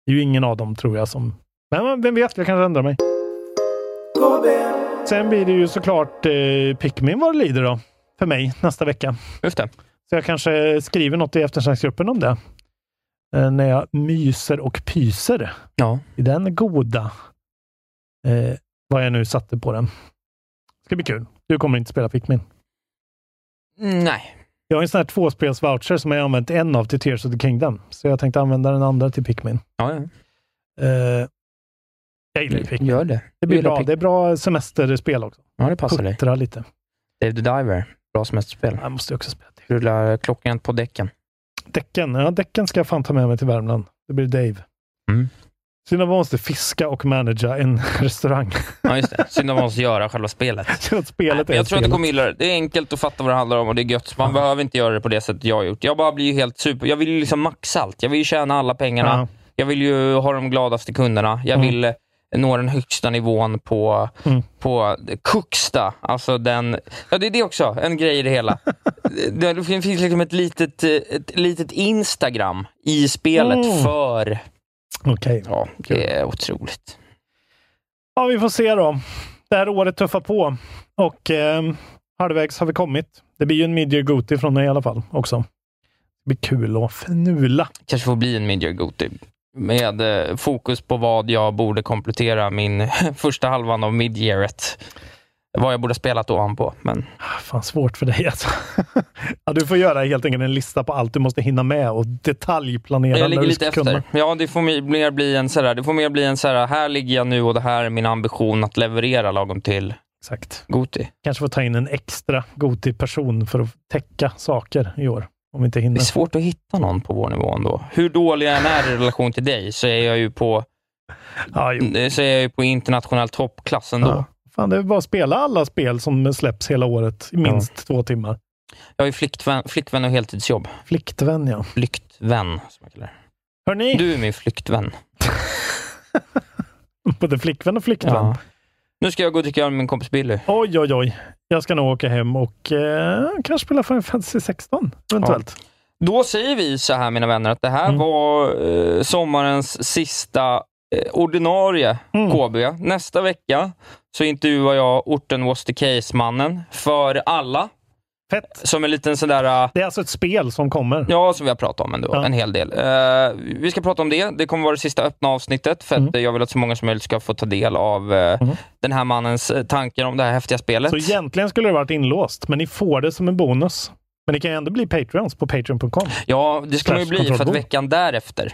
[SPEAKER 4] Det är ju ingen av dem tror jag som... Men men vem vet, jag kanske ändrar mig. Sen blir det ju såklart eh, Pikmin vad det lider då. För mig nästa vecka.
[SPEAKER 5] Just det.
[SPEAKER 4] Så jag kanske skriver något i eftersnacksgruppen om det. Eh, när jag myser och pyser
[SPEAKER 5] Ja.
[SPEAKER 4] i den goda, eh, vad jag nu satte på den. ska bli kul. Du kommer inte spela Pikmin.
[SPEAKER 5] Nej.
[SPEAKER 4] Jag har en sån här tvåspelsvoucher som jag har använt en av till Tears of the Kingdom. Så jag tänkte använda den andra till Pikmin.
[SPEAKER 5] Ja, ja.
[SPEAKER 4] Eh, jag gillar ju Pikmin.
[SPEAKER 5] Gör det.
[SPEAKER 4] Det blir
[SPEAKER 5] Mm. Gillar
[SPEAKER 4] bra.
[SPEAKER 5] Pik-
[SPEAKER 4] Det är bra semesterspel också.
[SPEAKER 5] Ja, det passar dig. Mm.
[SPEAKER 4] Puttra lite.
[SPEAKER 5] Dave the Diver. Bra semesterspel.
[SPEAKER 4] Jag måste ju också spela det.
[SPEAKER 5] Rullar klockan på däcken.
[SPEAKER 4] Däcken. Ja, däcken ska jag fan ta med mig till Värmland. Det blir Dave.
[SPEAKER 5] Mm.
[SPEAKER 4] Synd att man måste fiska och managera en restaurang.
[SPEAKER 5] Ja, just det. Synd att man måste göra själva spelet.
[SPEAKER 4] Så att spelet är
[SPEAKER 5] jag tror att
[SPEAKER 4] spelet.
[SPEAKER 5] du kommer gilla det. Det är enkelt att fatta vad det handlar om och det är gött. Man behöver inte göra det på det sättet jag har gjort. Jag bara blir ju helt super... Jag vill ju liksom maxa allt. Jag vill ju tjäna alla pengarna.
[SPEAKER 4] Ja.
[SPEAKER 5] Jag vill ju ha de gladaste kunderna. Jag
[SPEAKER 4] Mm.
[SPEAKER 5] vill eh, når den högsta nivån på,
[SPEAKER 4] Mm.
[SPEAKER 5] på Kucksta. Alltså den, ja, det är det också, en grej i det hela. det, det finns liksom ett litet, eh, ett litet Instagram i spelet
[SPEAKER 4] Mm.
[SPEAKER 5] för...
[SPEAKER 4] Okej.
[SPEAKER 5] Ja, det är otroligt.
[SPEAKER 4] Ja, vi får se då. Det här året tuffar på och eh, halvvägs har vi kommit. Det blir ju en Midyear Goti från mig i alla fall också. Det blir kul att fnula.
[SPEAKER 5] kanske får bli en Midyear Goti. Med eh, fokus på vad jag borde komplettera min första halvan av midyearet. Vad jag borde ha spelat ovanpå. Men
[SPEAKER 4] Ah, Fan, svårt för dig alltså. ja, du får göra helt enkelt en lista på allt du måste hinna med och detaljplanera.
[SPEAKER 5] jag
[SPEAKER 4] när
[SPEAKER 5] ligger
[SPEAKER 4] du
[SPEAKER 5] lite
[SPEAKER 4] ska kunna.
[SPEAKER 5] efter. Ja, det får mer- mer bli en så här, det får mer bli en så här, här ligger jag nu och det här är min ambition att leverera lagom till
[SPEAKER 4] Exakt.
[SPEAKER 5] Goti.
[SPEAKER 4] Kanske får ta in en extra Goti-person för att täcka saker i år. Om vi inte
[SPEAKER 5] Det
[SPEAKER 4] hinner.
[SPEAKER 5] är svårt att hitta någon på vår nivå ändå. Hur dålig jag än är i relation till dig så är jag ju på,
[SPEAKER 4] Ja, jo.
[SPEAKER 5] så är jag ju på internationell toppklass ändå.
[SPEAKER 4] Ja. Fan, det är bara att spela alla spel som släpps hela året i minst två timmar.
[SPEAKER 5] Jag är ju flickvän, flickvän och heltidsjobb.
[SPEAKER 4] Fliktvän, ja.
[SPEAKER 5] Flyktvän, som jag kallar
[SPEAKER 4] Hörni!
[SPEAKER 5] det. Du är min flyktvän.
[SPEAKER 4] Både flickvän och flickvän.
[SPEAKER 5] Ja. Nu ska jag gå och dricka öl med min kompis Billy.
[SPEAKER 4] Oj, oj, oj. Jag ska nog åka hem och eh, kanske spela Final Fantasy 16, eventuellt.
[SPEAKER 5] Då säger vi så här mina vänner, att det här
[SPEAKER 4] Mm.
[SPEAKER 5] var eh, sommarens sista eh, ordinarie
[SPEAKER 4] Mm.
[SPEAKER 5] KB. Nästa vecka så intervjuar jag orten was the case-mannen för alla.
[SPEAKER 4] Fett.
[SPEAKER 5] Som en liten sådär, eh,
[SPEAKER 4] Det är alltså ett spel som kommer.
[SPEAKER 5] ja som vi har pratat om ändå,
[SPEAKER 4] Ja.
[SPEAKER 5] en hel del. Eh, vi ska prata om det. Det kommer vara det sista öppna avsnittet för att
[SPEAKER 4] Mm.
[SPEAKER 5] eh, jag vill att så många som möjligt ska få ta del av eh,
[SPEAKER 4] Mm.
[SPEAKER 5] den här mannens eh, tankar om det här häftiga spelet.
[SPEAKER 4] Så egentligen skulle det varit inlåst, men ni får det som en bonus. Men ni kan ju ändå bli Patreons på Patreon.com.
[SPEAKER 5] Ja, det ska man ju
[SPEAKER 4] Slash
[SPEAKER 5] bli för att
[SPEAKER 4] kontrollbehov.
[SPEAKER 5] veckan därefter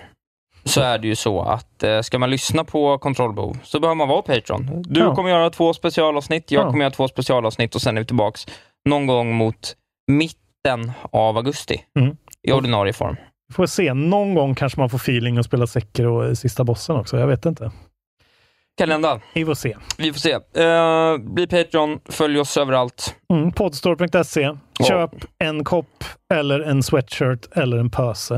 [SPEAKER 5] så är det ju så att eh, ska man lyssna på kontrollbehov så behöver man vara Patreon. Du
[SPEAKER 4] Ja.
[SPEAKER 5] kommer göra två specialavsnitt, jag
[SPEAKER 4] Ja.
[SPEAKER 5] kommer göra två specialavsnitt och sen är vi tillbaks någon gång mot mitten av augusti
[SPEAKER 4] Mm.
[SPEAKER 5] i ordinarie form.
[SPEAKER 4] Vi får se. Någon gång kanske man får feeling och spela säker och eh, sista bossen också. Jag vet inte.
[SPEAKER 5] Kalenda,
[SPEAKER 4] Vi får se.
[SPEAKER 5] vi får se. Eh, bli Patreon, följ oss överallt.
[SPEAKER 4] Mm, Podstore.se. Köp en kopp eller en sweatshirt eller en pöse.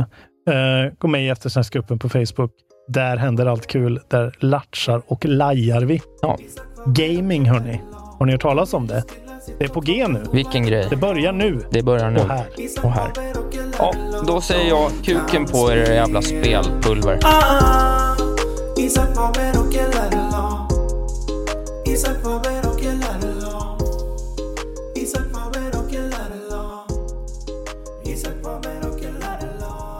[SPEAKER 4] Eh, gå med i eftersnacksgruppen på Facebook. Där händer allt kul. Där latchar och lajar vi.
[SPEAKER 5] Ja.
[SPEAKER 4] Gaming hörni. Har ni hört talas om det? Det är på G nu.
[SPEAKER 5] Vilken grej.
[SPEAKER 4] Det börjar nu.
[SPEAKER 5] Det börjar nu.
[SPEAKER 4] Och här.
[SPEAKER 5] Och här. Ja, då säger jag kuken på er jävla spelpulver.
[SPEAKER 3] Ah, Isaac va a ver o quién la arregló. Isaac va a ver o quién la arregló. Isaac va a ver o quién la arregló. Isaac va a ver o quién la arregló.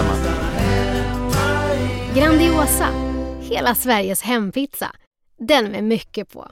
[SPEAKER 8] Grandiosa, hela Sveriges hempizza. Den med mycket på.